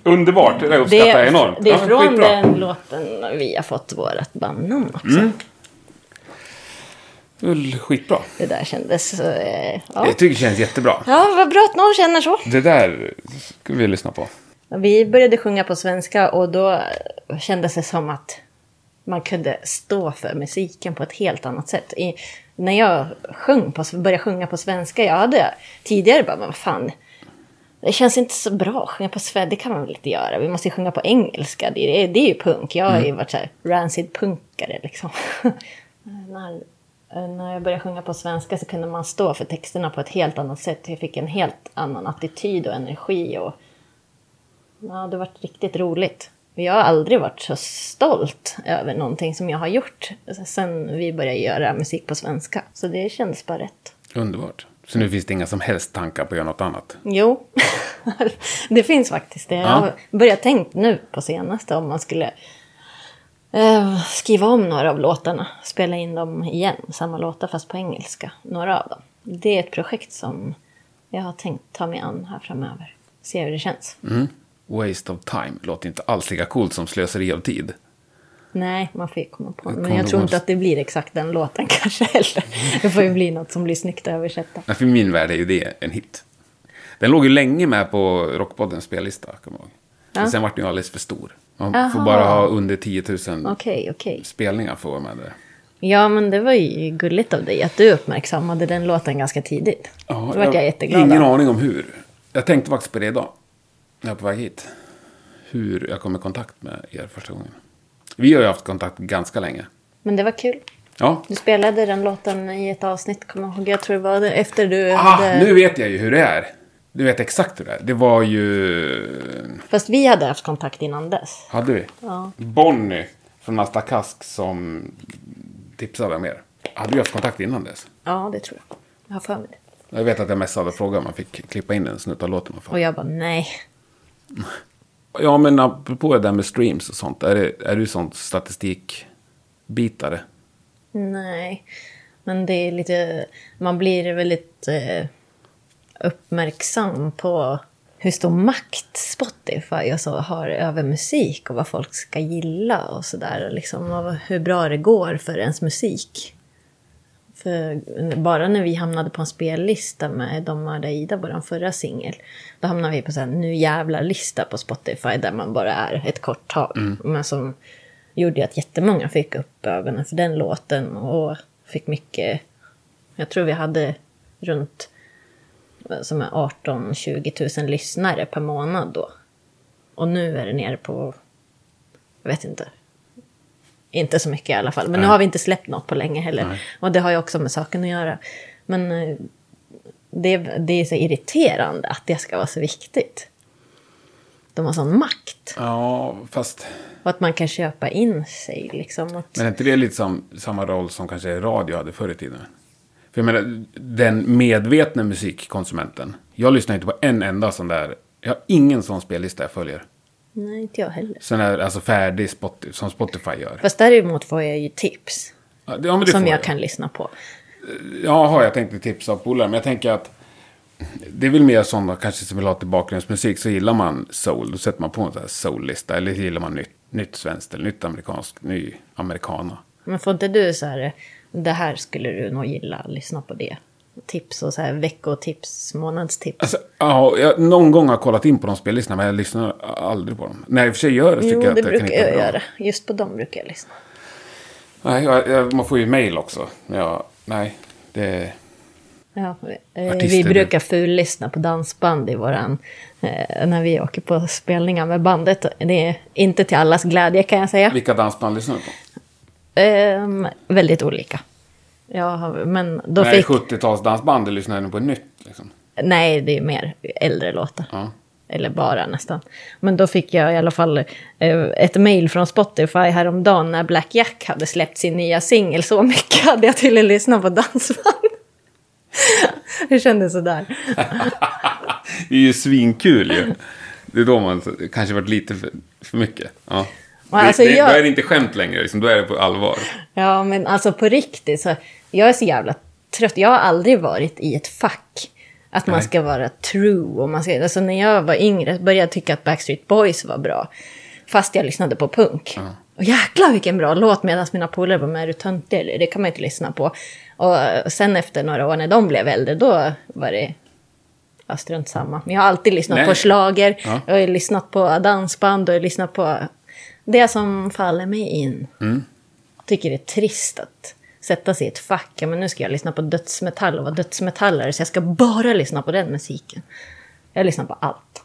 S3: Underbart, det uppskattar jag enormt.
S1: det är
S3: Ja, men
S1: från
S3: skitbra. Mm.
S1: den låten vi har fått vårt bandnamn också.
S3: Det är väl Skitbra.
S1: Det där kändes... eh, Ja.
S3: Jag tycker det typ- känns jättebra.
S1: ja, vad bra att någon känner så.
S3: Det där ska vi lyssna på.
S1: Vi började sjunga på svenska och då kändes det som att man kunde stå för musiken på ett helt annat sätt. I, när jag sjöng på, började sjunga på svenska, jag hade tidigare bara, men vad fan, det känns inte så bra att sjunga på svenska, det kan man väl inte göra, vi måste ju sjunga på engelska, det, är- det är ju punk, jag har ju varit så här rancid punkare liksom. [LAUGHS] när, när jag började sjunga på svenska så kunde man stå för texterna på ett helt annat sätt, jag fick en helt annan attityd och energi och Ja, det har varit riktigt roligt. Jag har aldrig varit så stolt över någonting som jag har gjort sen vi började göra musik på svenska. Så det kändes bara rätt.
S3: Underbart. Så nu finns det inga som helst tankar på att göra något annat?
S1: Jo, [LAUGHS] det finns faktiskt det. Jag har börjat tänkt nu på senaste om man skulle eh, skriva om några av låtarna. Spela in dem igen, samma låtar fast på engelska. Några av dem. Det är ett projekt som jag har tänkt ta mig an här framöver. Se hur det känns.
S3: Waste of time låter inte alls lika coolt som slöseri av tid.
S1: Nej, man får ju komma på den. Men
S3: kommer
S1: jag tror
S3: ihåg-
S1: inte att det blir exakt den låten [LAUGHS] kanske heller. Det får ju bli något som blir snyggt översatt.
S3: Ja, för i min värld är ju det en hit. Den låg ju länge med på Rockpoddens spellista, kommer jag ihåg. Men sen var den ju alldeles för stor. Man får
S1: Aha.
S3: bara ha under 10 000
S1: Okej, okej.
S3: spelningar för att vara med där.
S1: Ja, men det var ju gulligt av dig att du uppmärksammade den låten ganska tidigt. Då vart jag, jätteglad.
S3: Ingen
S1: av.
S3: aning om hur. Jag tänkte faktiskt på det idag. När jag var på väg hit. Hur jag kom i kontakt med er första gången. Vi har ju haft kontakt ganska länge.
S1: Men det var kul.
S3: Ja.
S1: Du spelade den låten i ett avsnitt, kommer jag ihåg. Jag tror det var det- efter du
S3: Ah,
S1: hade...
S3: nu vet jag ju hur det är. Du vet exakt hur det är. Det var ju...
S1: Fast vi hade haft kontakt innan dess.
S3: Hade vi?
S1: Ja.
S3: Bonnie från Asta Kask som tipsade om er. Hade vi haft kontakt innan dess?
S1: Ja, det tror jag. Jag har för mig det.
S3: Jag vet att jag messade och frågade om man fick klippa in en snutt av låten. man
S1: Och
S3: får.
S1: jag bara nej.
S3: Ja, men apropå det där med streams och sånt. Är, det, är du sån statistikbitare?
S1: Nej. Men det är lite... Man blir väldigt eh, uppmärksam på hur stor makt Spotify och så har över musik och vad folk ska gilla och sådär. Liksom, och hur bra det går för ens musik. För bara när vi hamnade på en spellista med Dom Mörda Ida, vår förra singel, då hamnade vi på så här, nu jävlar-lista på Spotify där man bara är ett kort tag. Men som gjorde ju att jättemånga fick upp ögonen för den låten och fick mycket, jag tror vi hade runt eh, som är 18-20 000 lyssnare per månad då. Och nu är det nere på, jag vet inte, inte så mycket i alla fall. Men nu har vi inte släppt något på länge heller. Och det har ju också med saken att göra. Men eh, det, det är så irriterande att det ska vara så viktigt. De har sån makt.
S3: Ja, fast...
S1: Och att man kan köpa in sig liksom. Att,
S3: Men är inte det lite som, samma roll som kanske radio hade förr i tiden? För jag menar, den medvetna musikkonsumenten. Jag lyssnar inte på en enda sån där... Jag har ingen sån spellista jag följer.
S1: nej, inte jag heller.
S3: Sån här, alltså färdig Spotify, som Spotify gör.
S1: Fast däremot får jag ju tips.
S3: Ja, det- ja, men det
S1: som
S3: får
S1: jag kan lyssna på.
S3: Jaha, jag tänkte tipsa av polare. Men jag tänker att det är väl mer sådana kanske som vill ha till bakgrundsmusik. Så gillar man soul, då sätter man på en sån här soul-lista. Eller gillar man nytt, nytt svenskt eller nytt amerikanskt, ny amerikana.
S1: Men får inte du så här, det här skulle du nog gilla, lyssna på det. Tips och så här veckotips, månadstips.
S3: Alltså, ja, jag någon gång har jag kollat in på de spellistorna, men jag lyssnar aldrig på dem. När jag i och för sig gör det så
S1: Jo,
S3: tycker jag
S1: det
S3: att jag kan
S1: brukar jag
S3: hitta bra.
S1: göra. Just på dem brukar jag lyssna.
S3: Nej, jag, jag, man får ju mail också. Men jag, nej, det...
S1: Ja, eh,
S3: Artister
S1: vi
S3: nu.
S1: brukar fullyssna på dansband i våran, eh, när vi åker på spelningar med bandet. Det är inte till allas glädje kan jag säga.
S3: Vilka dansband lyssnar du på?
S1: Ehm, väldigt olika. Ja, men då
S3: Nej,
S1: fick...
S3: 70-talsdansband, det lyssnar jag nog på nytt. Liksom.
S1: Nej, det är mer äldre låtar.
S3: Ja.
S1: Eller bara nästan. Men då fick jag i alla fall eh, ett mejl från Spotify häromdagen när Black Jack hade släppt sin nya singel. Så mycket hade jag till att lyssna på dansband. [LAUGHS] Hur kändes det där?
S3: [LAUGHS] Det är ju svinkul ju. Det är då man kanske varit lite för, för mycket. Ja.
S1: Men alltså,
S3: det, det,
S1: jag-
S3: Då är det inte skämt längre, liksom. då är det på allvar.
S1: Ja, men alltså på riktigt. Så jag är så jävla trött. Jag har aldrig varit i ett fack. Att man
S3: Nej.
S1: ska vara true. Och man ska, alltså när jag var yngre började jag tycka att Backstreet Boys var bra. Fast jag lyssnade på punk. Och jäklar vilken bra låt. Medan mina polare var med är du töntig eller? Det kan man ju inte lyssna på. Och eh, sen efter några år när de blev äldre, då var det... Ja, strunt samma. Men jag har alltid lyssnat
S3: Nej.
S1: på schlager.
S3: Ja.
S1: Jag har ju lyssnat på dansband och jag har lyssnat på det som faller mig in
S3: Mm.
S1: tycker det är trist att sätta sig i ett fack. Ja, men nu ska jag lyssna på dödsmetall och vara dödsmetallare så jag ska bara lyssna på den musiken. Jag lyssnar på allt.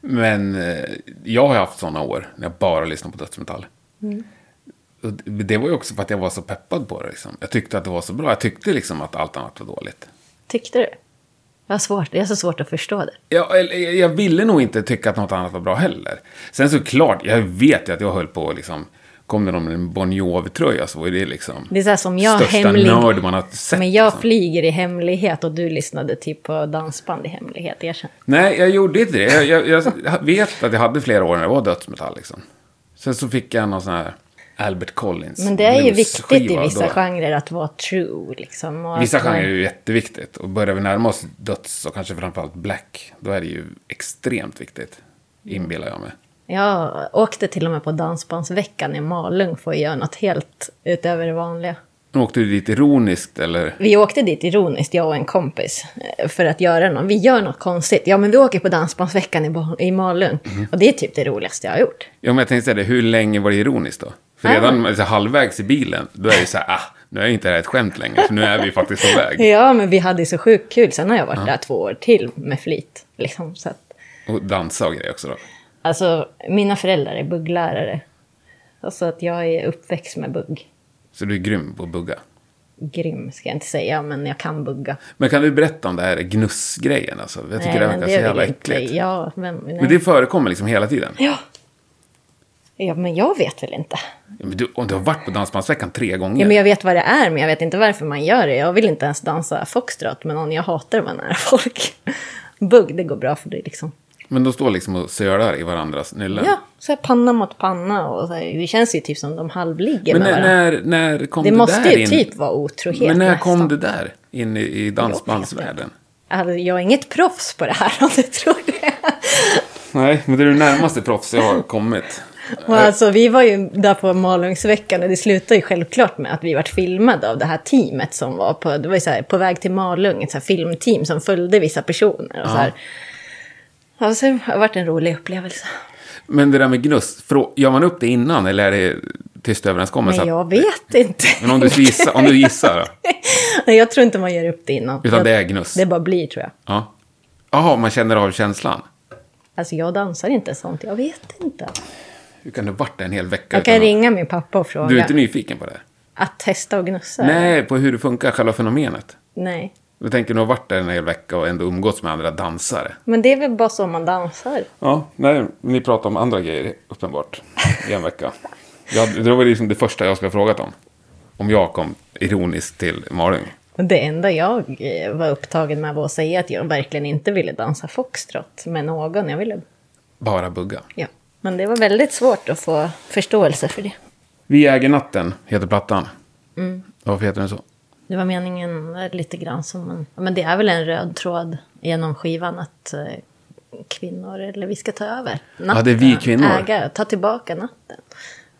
S3: Men eh, jag har haft sådana år när jag bara lyssnade på dödsmetall. Och det- Det var ju också för att jag var så peppad på det. Liksom. Jag tyckte att det var så bra. Jag tyckte liksom att allt annat var dåligt.
S1: Tyckte du? Jag har, svårt, jag har så svårt att förstå det.
S3: Jag, eller, jag jag ville nog inte tycka att något annat var bra heller. Sen såklart, jag vet ju att jag höll på och liksom... Kom det någon med en Bon Jovi-tröja så var ju det liksom...
S1: Det är så här som jag
S3: största
S1: hemlig...
S3: nörd man har sett.
S1: Men jag
S3: liksom.
S1: flyger i hemlighet och du lyssnade typ på dansband i hemlighet, erkänn.
S3: Nej, jag gjorde inte det. Jag, jag, jag vet att jag hade flera år när det var dödsmetall. Liksom. Sen så fick jag någon sån här Albert Collins.
S1: Men det är ju
S3: bluesskiva
S1: viktigt i vissa
S3: då.
S1: genrer att vara true liksom. och
S3: Vissa
S1: att man-
S3: genrer är ju jätteviktigt. Och börjar vi närma oss döds och kanske framförallt black, då är det ju extremt viktigt. Inbillar jag mig.
S1: Jag åkte till och med på Dansbandsveckan i Malung för att göra något helt utöver det vanliga.
S3: Åkte du dit ironiskt eller?
S1: Vi åkte dit ironiskt, jag och en kompis, eh, för att göra något. Vi gör något konstigt. Ja, men vi åker på Dansbandsveckan i, Ba- i Malung.
S3: Mhm.
S1: Och det är typ det roligaste jag har gjort.
S3: Ja, men jag tänkte säga det, hur länge var det ironiskt då? För
S1: Ja.
S3: redan alltså, halvvägs i bilen, då är det så här, ah, nu är inte det här ett skämt längre, för nu är vi faktiskt på väg.
S1: [LAUGHS] Ja, men vi hade ju så sjukt kul. Sen har jag varit där två år till med flit. Liksom, så att,
S3: Och dansa och grejer också då.
S1: alltså, mina föräldrar är bugglärare. Så att jag är uppväxt med bugg.
S3: Så du är grym på att bugga.
S1: Grym ska jag inte säga, men jag kan bugga.
S3: Men kan du berätta om det här gnussgrejen? Alltså? Jag tycker det
S1: men
S3: verkar så jävla
S1: vill jag
S3: äckligt.
S1: Inte. Ja, vem, nej.
S3: Men det förekommer liksom hela tiden.
S1: ja. ja, men jag vet väl inte.
S3: Ja, men du, om du har varit på Dansbandsveckan tre gånger.
S1: Ja, men jag vet vad det är, men jag vet inte varför man gör det. Jag vill inte ens dansa foxtrot med någon jag hatar att vara nära folk. [LAUGHS] Bugg, det går bra för dig liksom.
S3: Men de står liksom och sölar i varandras nyllen.
S1: Ja, så här panna mot panna och så här, det känns ju typ som de halvligger
S3: Men
S1: med
S3: när,
S1: varandra.
S3: när, när kom
S1: Det
S3: det,
S1: måste
S3: där
S1: ju
S3: in?
S1: typ vara otrohet
S3: Men när
S1: nästan.
S3: kom det där in i, i
S1: Jag vet
S3: dansbandsvärlden?
S1: Alltså, jag är inget proffs på det här [LAUGHS] om du tror det.
S3: Nej, men det är det närmaste proffs jag har kommit.
S1: Och
S3: Eh.
S1: alltså, vi var ju där på Malungsveckan och det slutade ju självklart med att vi vart filmade av det här teamet som var på, det var ju så här, på väg till Malung, ett så här filmteam som följde vissa personer. Och så här. Alltså, det har varit en rolig upplevelse.
S3: Men det där med gnuss, frå- gör man upp det innan eller är det tyst överenskommelse?
S1: Men
S3: att-
S1: jag vet inte.
S3: Men om du gissar, om du gissar då?
S1: [LAUGHS] Nej, jag tror inte man gör upp det innan.
S3: Utan
S1: jag,
S3: det är gnuss.
S1: Det bara blir tror jag.
S3: Ja. Jaha, man känner av känslan.
S1: Alltså jag dansar inte sånt, jag vet inte.
S3: Hur kan du ha varit där en hel vecka?
S1: Jag kan
S3: utan att-
S1: ringa min pappa och fråga.
S3: Du är inte nyfiken på det?
S1: Att testa och gnussa?
S3: Nej, på hur det funkar, själva fenomenet.
S1: Nej.
S3: Jag tänker, du har varit där en hel vecka och ändå umgåtts med andra dansare.
S1: Men det är väl bara så man dansar?
S3: Ja, nej, ni pratar om andra grejer, uppenbart, i en vecka. Jag, det var liksom det första jag skulle ha frågat om. Om jag kom ironiskt till Malung.
S1: Och Det enda jag eh, var upptagen med var att säga att jag verkligen inte ville dansa foxtrot med någon. Jag ville...
S3: Bara bugga.
S1: Ja. Men det var väldigt svårt att få förståelse för det.
S3: Vi äger natten, heter plattan. Varför heter den så?
S1: Det var meningen eh, lite grann som en... ja, Men det är väl en röd tråd genom skivan att eh, kvinnor, eller vi ska ta över natten.
S3: Ja, det är vi kvinnor.
S1: Äga, ta tillbaka natten.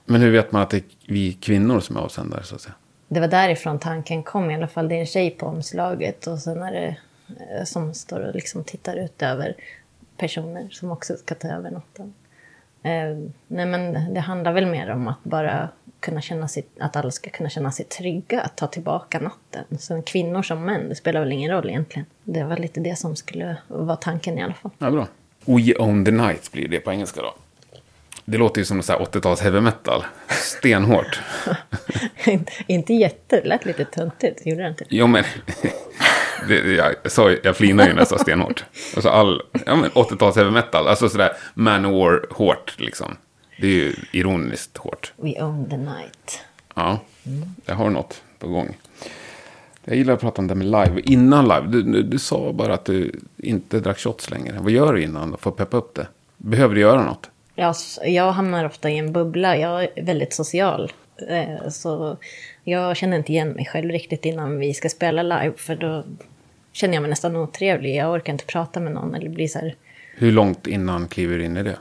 S3: Men hur vet man att det är vi kvinnor som är avsändare, så att säga?
S1: Det var därifrån tanken kom i alla fall. Det är en tjej på omslaget och sen är det eh, som står och liksom tittar ut över personer som också ska ta över natten. Eh, nej men det handlar väl mer om att bara kunna känna sig, att alla ska kunna känna sig trygga att ta tillbaka natten. Sen kvinnor som män, det spelar väl ingen roll egentligen. Det var lite det som skulle vara tanken i alla fall. [LAUGHS]
S3: Ja, bra. We own the night blir det på engelska då. Det låter ju som så här 80-tals heavy metal. Stenhårt.
S1: Inte- inte jätte, det lät lite töntigt, gjorde det inte?
S3: Jo, men... [LAUGHS] Det, jag, sa, ju- jag flinade ju när jag sa stenhårt. Alltså all... Ja, men 80-tals heavy metal. Alltså sådär Manowar-hårt, liksom. Det är ju ironiskt hårt.
S1: We own the night.
S3: Ja, jag har något på gång. Jag gillar att prata om det med live. Innan live, du, du, du sa bara att du inte drack shots längre. Vad gör du innan då för att peppa upp det? Behöver du göra något?
S1: Jag, s- jag hamnar ofta i en bubbla. Jag är väldigt social. Eh, Så jag känner inte igen mig själv riktigt innan vi ska spela live. För då känner jag mig nästan otrevlig. Jag orkar inte prata med någon. Eller blir så här
S3: Hur långt innan kliver du in i det?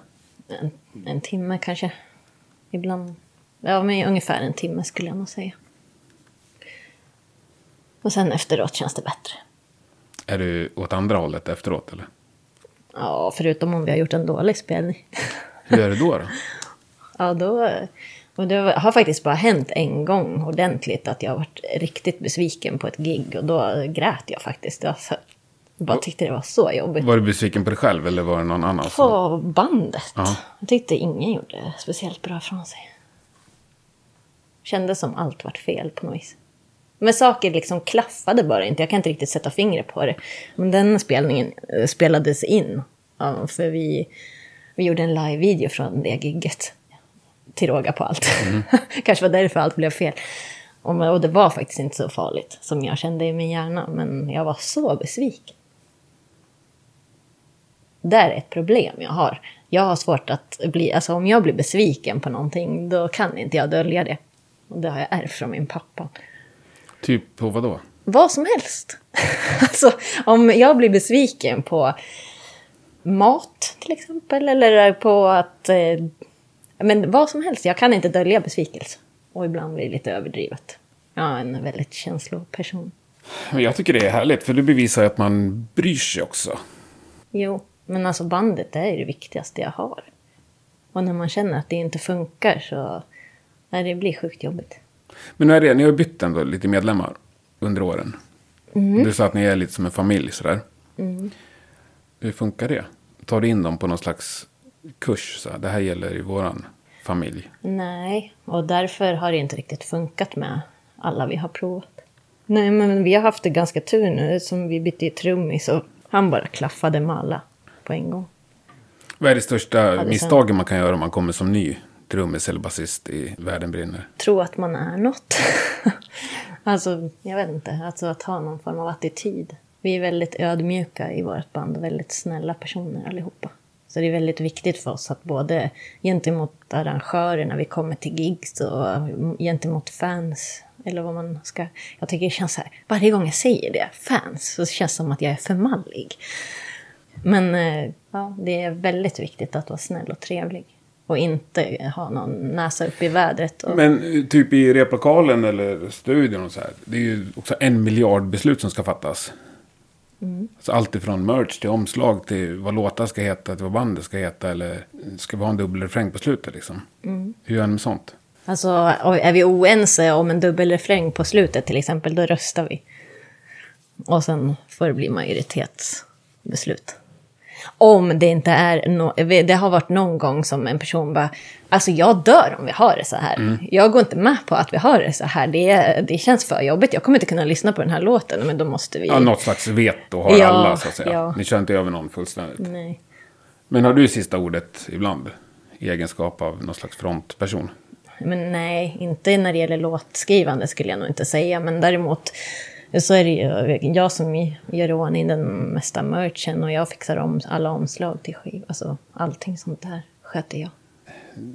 S1: en, en timme kanske. Ibland. Ja, men ungefär en timme skulle jag nog säga. Och sen efteråt känns det bättre.
S3: Är du åt andra hållet efteråt eller?
S1: Ja, förutom om vi har gjort en dålig spelning. [LAUGHS]
S3: Hur är det då? då?
S1: Ja, då... Och det har faktiskt bara hänt en gång ordentligt att jag har varit riktigt besviken på ett gig och då grät jag faktiskt. Jag så- bara tyckte det var så jobbigt.
S3: Var du besviken på dig själv eller var det någon annan? som-
S1: På bandet.
S3: Alltså. Ja.
S1: Jag tyckte ingen gjorde speciellt bra från sig. Kändes som allt vart fel på något vis. Men saker liksom klaffade bara inte. Jag kan inte riktigt sätta fingret på det. Men den spelningen eh, spelades in. Ja, för vi, vi gjorde en live-video från det gigget. Till råga på allt. [LAUGHS] Kanske var därför allt blev fel. Och, men- och det var faktiskt inte så farligt som jag kände i min hjärna. Men jag var så besviken. Där är ett problem jag har. Jag har svårt att bli, alltså om jag blir besviken på någonting då kan inte jag dölja det. Och det har jag ärvt från min pappa.
S3: Typ på vad då?
S1: [LAUGHS] Vad som helst. alltså om jag blir besviken på mat till exempel. Eller på att... Eh, ja, men vad som helst. Jag kan inte dölja besvikelse. Och ibland blir det lite överdrivet. Jag är en väldigt känsloperson.
S3: Men jag tycker det är härligt, för det bevisar ju att man bryr sig också.
S1: Jo, men alltså bandet det är ju det viktigaste jag har. Och när man känner att det inte funkar så... Nej, det blir sjukt jobbigt.
S3: Men nu är det, ni har ju bytt ändå lite medlemmar under åren. Du sa att ni är lite som en familj sådär. Mm. Hur funkar det? Tar du in dem på någon slags kurs? Så här, det här gäller i våran familj.
S1: Nej, och därför har det inte riktigt funkat med alla vi har provat. Nej, men vi har haft det ganska tur nu som vi bytte ju trummis och han bara klaffade med alla på en gång.
S3: Vad är det största
S1: sen-
S3: misstaget man kan göra om man kommer som ny trummis eller basist i Världen brinner?
S1: Tro att man är något. [LAUGHS] alltså, jag vet inte. Alltså att ha någon form av attityd. Vi är väldigt ödmjuka i vårt band och väldigt snälla personer allihopa. Så det är väldigt viktigt för oss att både gentemot arrangörer när vi kommer till gigs och gentemot fans eller vad man ska... Jag tycker det känns så här, varje gång jag säger det, fans, så känns det som att jag är för mallig. Men eh, ja, det är väldigt viktigt att vara snäll och trevlig. Och inte ha någon näsa upp i vädret. Och...
S3: Men eh, typ i replokalen eller studion och så här. Det är ju också en miljard beslut som ska fattas.
S1: Mm.
S3: Alltså allt ifrån merch till omslag till vad låtar ska heta, till vad bandet ska heta eller ska vi ha en dubbelrefräng på slutet liksom.
S1: Mm.
S3: Hur gör ni med sånt?
S1: Alltså, och är vi oense om en dubbelrefräng på slutet till exempel, då röstar vi. Och sen får det bli majoritetsbeslut. Om det inte är nå det har varit någon gång som en person bara, alltså jag dör om vi har det så här. Jag går inte med på att vi har det så här, det, det känns för jobbigt, jag kommer inte kunna lyssna på den här låten, men då måste vi...
S3: Ja, något slags veto har
S1: Ja,
S3: alla så att säga.
S1: ja. Mm.
S3: Ni kör inte över någon fullständigt.
S1: Nej.
S3: Men har du sista ordet ibland? I egenskap av någon slags frontperson?
S1: Men nej, inte när det gäller låtskrivande skulle jag nog inte säga. Men däremot så är det ju jag som gör i ordning den mesta merchen och jag fixar om alla omslag till skiv. Alltså allting sånt där sköter jag.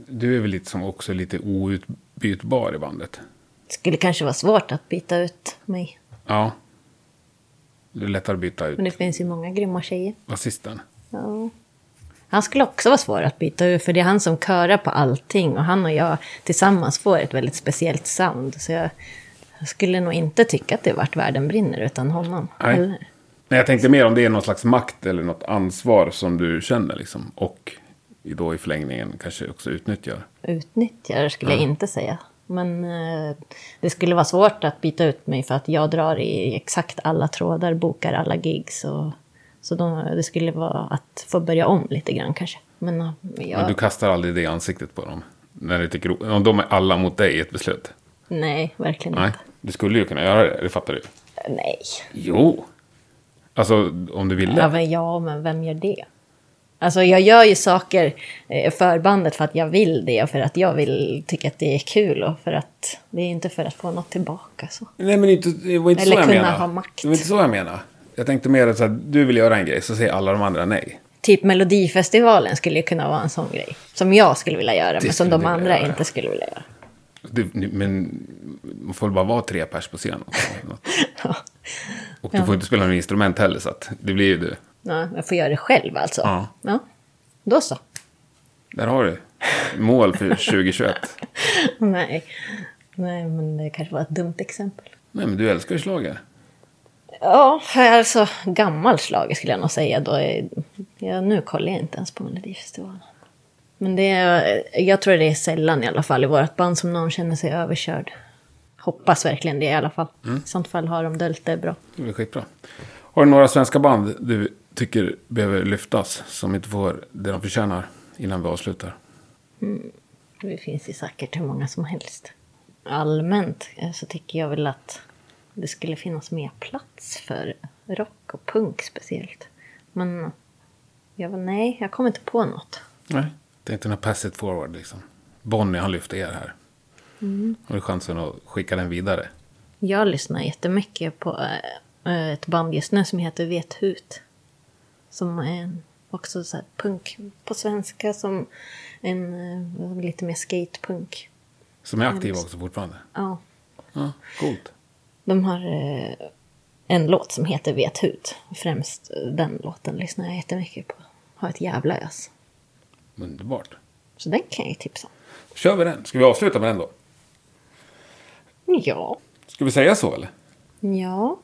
S3: Du är väl lite som också lite outbytbar i bandet?
S1: Det skulle kanske vara svårt att byta ut mig.
S3: Ja. Det är lättare att byta ut
S1: Men det finns ju många grymma tjejer.
S3: basisten.
S1: Ja. Han skulle också vara svår att byta ut, för det är han som körar på allting. Och han och jag tillsammans får ett väldigt speciellt sound. Så jag, jag skulle nog inte tycka att det vart världen brinner utan honom.
S3: Nej.
S1: Eller?
S3: Nej, jag tänkte mer om det är någon slags makt eller något ansvar som du känner liksom. Och då i förlängningen kanske också utnyttjar.
S1: utnyttjar skulle jag inte säga. Men eh, det skulle vara svårt att byta ut mig för att jag drar i exakt alla trådar, bokar alla gigs. Och, så då, det skulle vara att få börja om lite grann kanske. Men eh,
S3: Men
S1: jag,
S3: du kastar aldrig det i ansiktet på dem. När du tycker, om de är alla mot dig i ett beslut.
S1: nej, verkligen
S3: Nej,
S1: inte. Eh,
S3: du skulle ju kunna göra det, det fattar du.
S1: Nej.
S3: Jo. Alltså, om du ville.
S1: Ja men, ja, men vem gör det? Alltså jag gör ju saker eh, för bandet för att jag vill det och för att jag vill tycka att det är kul och för att det är inte för att få något tillbaka så.
S3: Nej, men inte, det var inte
S1: Eller
S3: så jag
S1: kunna
S3: menade.
S1: ha makt.
S3: Det var inte så jag menade. Jag tänkte mer att så här, du vill göra en grej, så säger alla de andra nej.
S1: Typ Melodifestivalen skulle ju kunna vara en sån grej. Som jag skulle vilja göra, men som
S3: skulle
S1: de
S3: du vilja
S1: andra
S3: göra.
S1: inte skulle vilja göra. [LAUGHS]
S3: Du, ni- men man får väl bara vara tre pers på scen. också, eller [LAUGHS] något. Och du får inte spela något instrument heller, så att det blir ju du.
S1: Ja, jag får göra det själv alltså.
S3: Ja.
S1: Då så. [LAUGHS]
S3: Där har du. Mål för 2021.
S1: Nej. Nej, men det kanske var ett dumt exempel.
S3: Nej, men du älskar ju schlager.
S1: Ja, alltså gammal schlager skulle jag nog säga. Då är, ja, nu kollar jag inte ens på Melodifestivalen. Men det är, jag tror det är sällan i alla fall i vårt band som någon känner sig överkörd. Hoppas verkligen det i alla fall.
S3: Mm.
S1: I sånt fall har de döljt det bra.
S3: Det blir skitbra. Har du några svenska band du tycker behöver lyftas, som inte får det de förtjänar innan vi avslutar?
S1: Det finns ju säkert hur många som helst. Allmänt eh, så tycker jag väl att det skulle finnas mer plats för rock och punk speciellt. Men eh, jag var nej, jag kommer inte på något.
S3: Nej. Det är inte något pass it forward, liksom. Bonnie, han lyfte er här. Har du chansen att skicka den vidare?
S1: Jag lyssnar jättemycket på eh, ett band just nu som heter Vet Hut. Som är en, också så här punk på svenska som en eh, lite mer skatepunk.
S3: Som är aktiv också fortfarande.
S1: Ja.
S3: Ja, coolt.
S1: De har eh, en låt som heter Vet hut. Främst eh, den låten lyssnar jag jättemycket på. har ett jävla ös.
S3: Underbart.
S1: Så den kan jag ju tipsa om.
S3: kör vi den. Ska vi avsluta med den då?
S1: Ja.
S3: Ska vi säga så eller?
S1: Ja.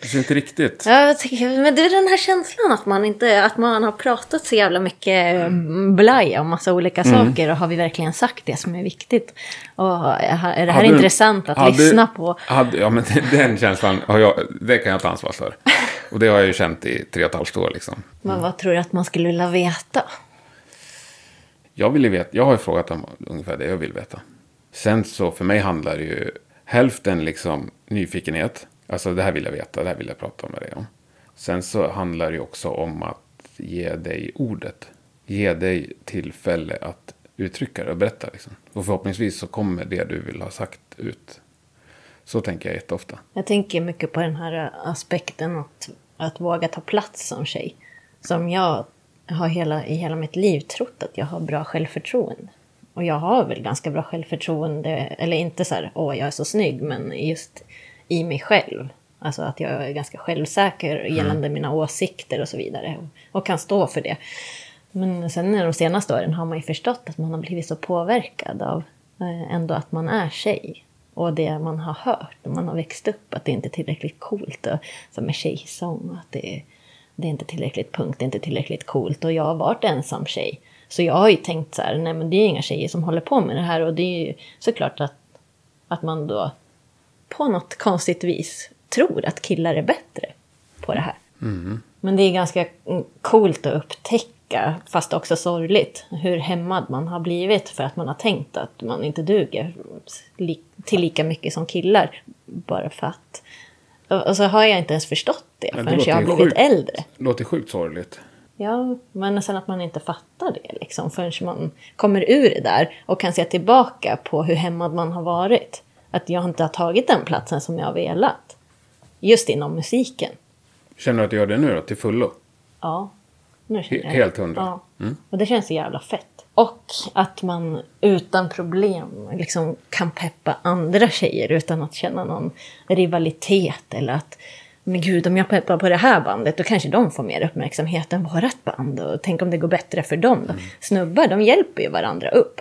S3: Det är inte riktigt.
S1: Ja, jag tycker, men det är den här känslan att man, inte, att man har pratat så jävla mycket mm, blaj om massa olika
S3: Mm.
S1: saker. Och har vi verkligen sagt det som är viktigt? Och eh, är det här
S3: Hade du-
S1: intressant att
S3: hade-
S1: lyssna på?
S3: Hade, ja, men [LAUGHS] den känslan har jag, det kan jag ta
S1: [LAUGHS]
S3: ansvar för. Och det har jag ju känt i tre och ett halvt år liksom.
S1: Men vad tror du att man skulle vilja veta?
S3: Jag, vill ju veta, jag har ju frågat dem ungefär det jag vill veta. Sen så för mig handlar det ju hälften liksom nyfikenhet. Alltså det här vill jag veta, det här vill jag prata med dig om. Sen så handlar det ju också om att ge dig ordet. Ge dig tillfälle att uttrycka det och berätta. Liksom. Och förhoppningsvis så kommer det du vill ha sagt ut. Så tänker jag jätteofta.
S1: Jag tänker mycket på den här aspekten att, att våga ta plats som tjej. Som jag har hela, i hela mitt liv trott att jag har bra självförtroende. Och jag har väl ganska bra självförtroende, eller inte så här åh jag är så snygg, men just i mig själv. Alltså att jag är ganska självsäker gällande mina åsikter och så vidare. Och, och kan stå för det. Men sen de senaste åren har man ju förstått att man har blivit så påverkad av eh, ändå att man är tjej. Och det man har hört när man har växt upp, att det inte är tillräckligt coolt. Och, som med tjejsång, att det är, det är inte tillräckligt punkt, det är inte tillräckligt coolt. Och jag har varit ensam tjej. Så jag har ju tänkt så här, nej men det är ju inga tjejer som håller på med det här. Och det är ju såklart att, att man då på något konstigt vis tror att killar är bättre på det här.
S3: Mm.
S1: Men det är ganska coolt att upptäcka, fast också sorgligt, hur hämmad man har blivit för att man har tänkt att man inte duger li- till lika mycket som killar. Bara för att... Och och så har jag inte ens förstått det
S3: Men det
S1: förrän jag har
S3: låter ju
S1: blivit
S3: sjukt.
S1: äldre.
S3: Det låter sjukt sorgligt.
S1: Ja, men sen att man inte fattar det liksom, förrän man kommer ur det där och kan se tillbaka på hur hämmad man har varit. Att jag inte har tagit den platsen som jag har velat. Just inom musiken.
S3: Känner du att du gör det nu då, till fullo?
S1: Ja. Nu känner jag.
S3: He- helt hundra. Mm.
S1: Ja. Och det känns så jävla fett. Och att man utan problem liksom kan peppa andra tjejer utan att känna någon rivalitet eller att men gud, om jag peppar på det här bandet då kanske de får mer uppmärksamhet än vårat band och tänk om det går bättre för dem
S3: Mm.
S1: då. Snubbar, de hjälper ju varandra upp.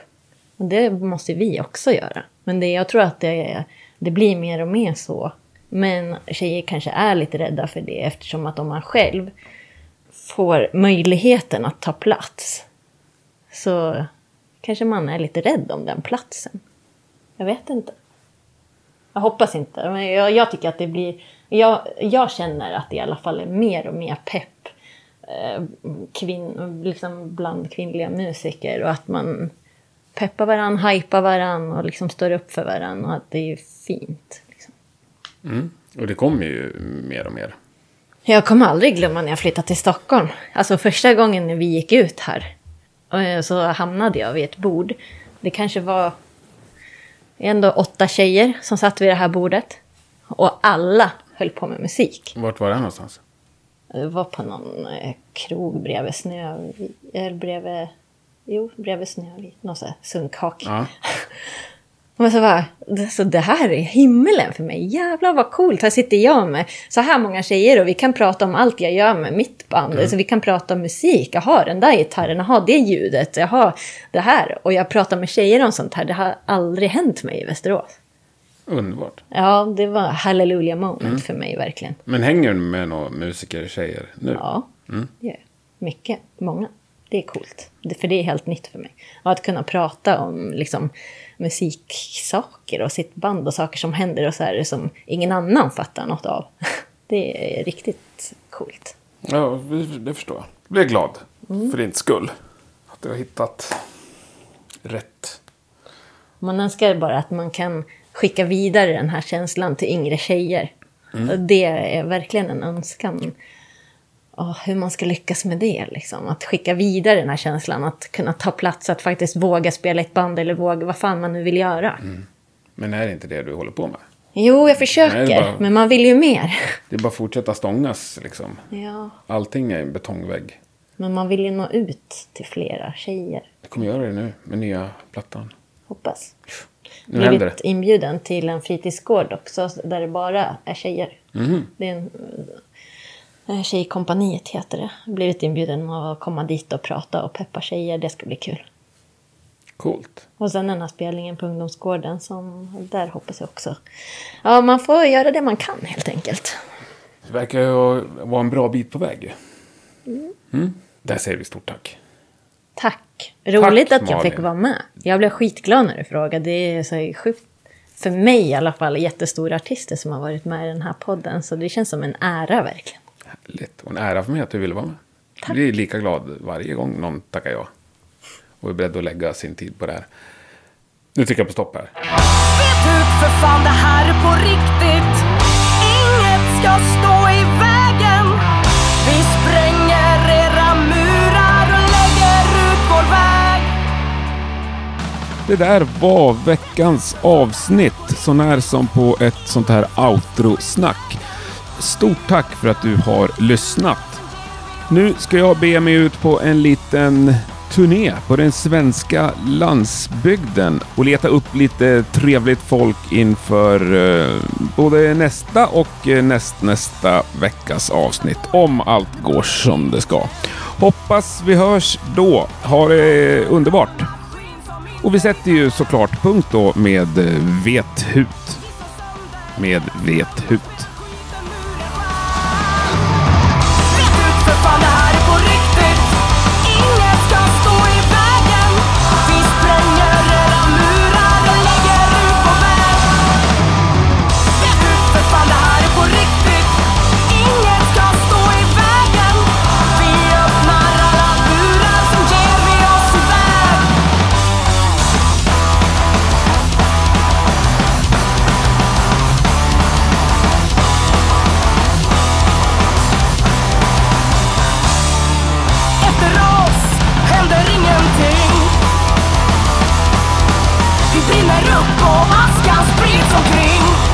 S1: Och det måste vi också göra. Men det, jag tror att det, är- det blir mer och mer så. Men tjejer kanske är lite rädda för det eftersom att om man själv får möjligheten att ta plats så kanske man är lite rädd om den platsen. Jag vet inte. Jag hoppas inte. Men jag, jag tycker att det blir... Jag, jag känner att det i alla fall är mer och mer pepp eh, kvinn, liksom bland kvinnliga musiker och att man peppar varann, hypar varann och liksom står upp för varann och att det är fint. Liksom.
S3: Och det kommer ju mer och mer.
S1: Jag kommer aldrig glömma när jag flyttade till Stockholm. Alltså första gången när vi gick ut här eh, så hamnade jag vid ett bord. Det kanske var ändå åtta tjejer som satt vid det här bordet. Och alla höll på med musik.
S3: Vart var det här någonstans?
S1: Det var på någon eh, krog bredvid Snövit, eller bredvid, jo, bredvid Snövit, någon sån här sunkhak.
S3: Ja.
S1: Men så bara, alltså det här är himlen för mig. Jävlar vad coolt. Här sitter jag med så här många tjejer och vi kan prata om allt jag gör med mitt band. Alltså, vi kan prata om musik. Jaha, den där gitarren. Jaha, det ljudet. Jaha, det här. Och jag pratar med tjejer om sånt här. Det har aldrig hänt mig i Västerås.
S3: Underbart.
S1: Ja, det var hallelujah moment för mig verkligen.
S3: Men hänger du med några musiker, tjejer nu?
S1: Ja, det gör jag. Mycket. Många. Det är coolt. Det, för det är helt nytt för mig. Och att kunna prata om liksom, musiksaker och sitt band och saker som händer och så här som ingen annan fattar något av. [LAUGHS] Det är riktigt coolt.
S3: Ja, det förstår jag.
S4: Jag blir glad
S1: Mm.
S4: för din skull. Att du har hittat rätt.
S1: Man önskar bara att man kan skicka vidare den här känslan till yngre tjejer.
S3: Mm.
S1: Och det är verkligen en önskan. Åh, hur man ska lyckas med det, liksom. Att skicka vidare den här känslan, att kunna ta plats, att faktiskt våga spela i ett band eller våga vad fan man nu vill göra.
S3: Men är det inte det du håller på med?
S1: Jo, jag
S3: Mm. Nej, det
S1: försöker,
S3: är bara-
S1: men man vill ju mer.
S3: Det är bara att fortsätta stångas liksom.
S1: ja.
S3: Allting är en betongvägg.
S1: Men man vill ju nå ut till flera tjejer,
S3: Jag kommer göra det nu med nya plattan.
S1: hoppas.
S3: Nu händer
S1: Blivit
S3: det.
S1: inbjuden
S3: Mhm.
S1: till en fritidsgård också, där det bara är tjejer. Det är en, Eh, Tjejkompaniet heter det. Jag har blivit inbjuden att komma dit och prata och peppa tjejer. Det ska bli kul.
S5: Coolt.
S1: Och sen den här spelningen på ungdomsgården som där hoppas jag också. Ja, man får göra det man kan helt enkelt.
S5: Det verkar ju vara en bra bit på väg. Mm. Där säger vi stort tack.
S1: Tack! Roligt att jag
S5: Malin.
S1: fick vara med. Jag blev skitglad när du frågade. Det är så här sjukt, för mig i alla fall, jättestora artister som har varit med i den här podden. Så det känns som en ära verkligen.
S5: Härligt. Och en ära för mig att du ville vara med. Jag blir lika glad varje gång någon tackar ja. Och är beredd att lägga sin tid på det här. Nu trycker jag på stopp här.
S4: Vet ut för fan det här är på riktigt Inget ska stå i vägen Vi spränger era murar och lägger ut vår väg
S3: Det där var veckans avsnitt, så när som på ett sånt här outro-snack. Stort tack för att du har lyssnat. Nu ska jag be mig ut på en liten turné på den svenska landsbygden och leta upp lite trevligt folk inför eh, både nästa och eh, nästnästa veckas avsnitt. Om allt går som det ska. Hoppas vi hörs då. Ha det eh, underbart! Och vi sätter ju såklart punkt då med eh, Vethut. Med Vethut.
S4: Vet ut för fan det här är på riktigt Inget ska stå i vägen Vi spränger era murar och lägger ut vår väg Vet ut för fan det här är på riktigt Inget ska stå i vägen Vi öppnar alla murar som ger vi oss iväg Efter oss händer ingenting Vi brinner upp och askan sprids omkring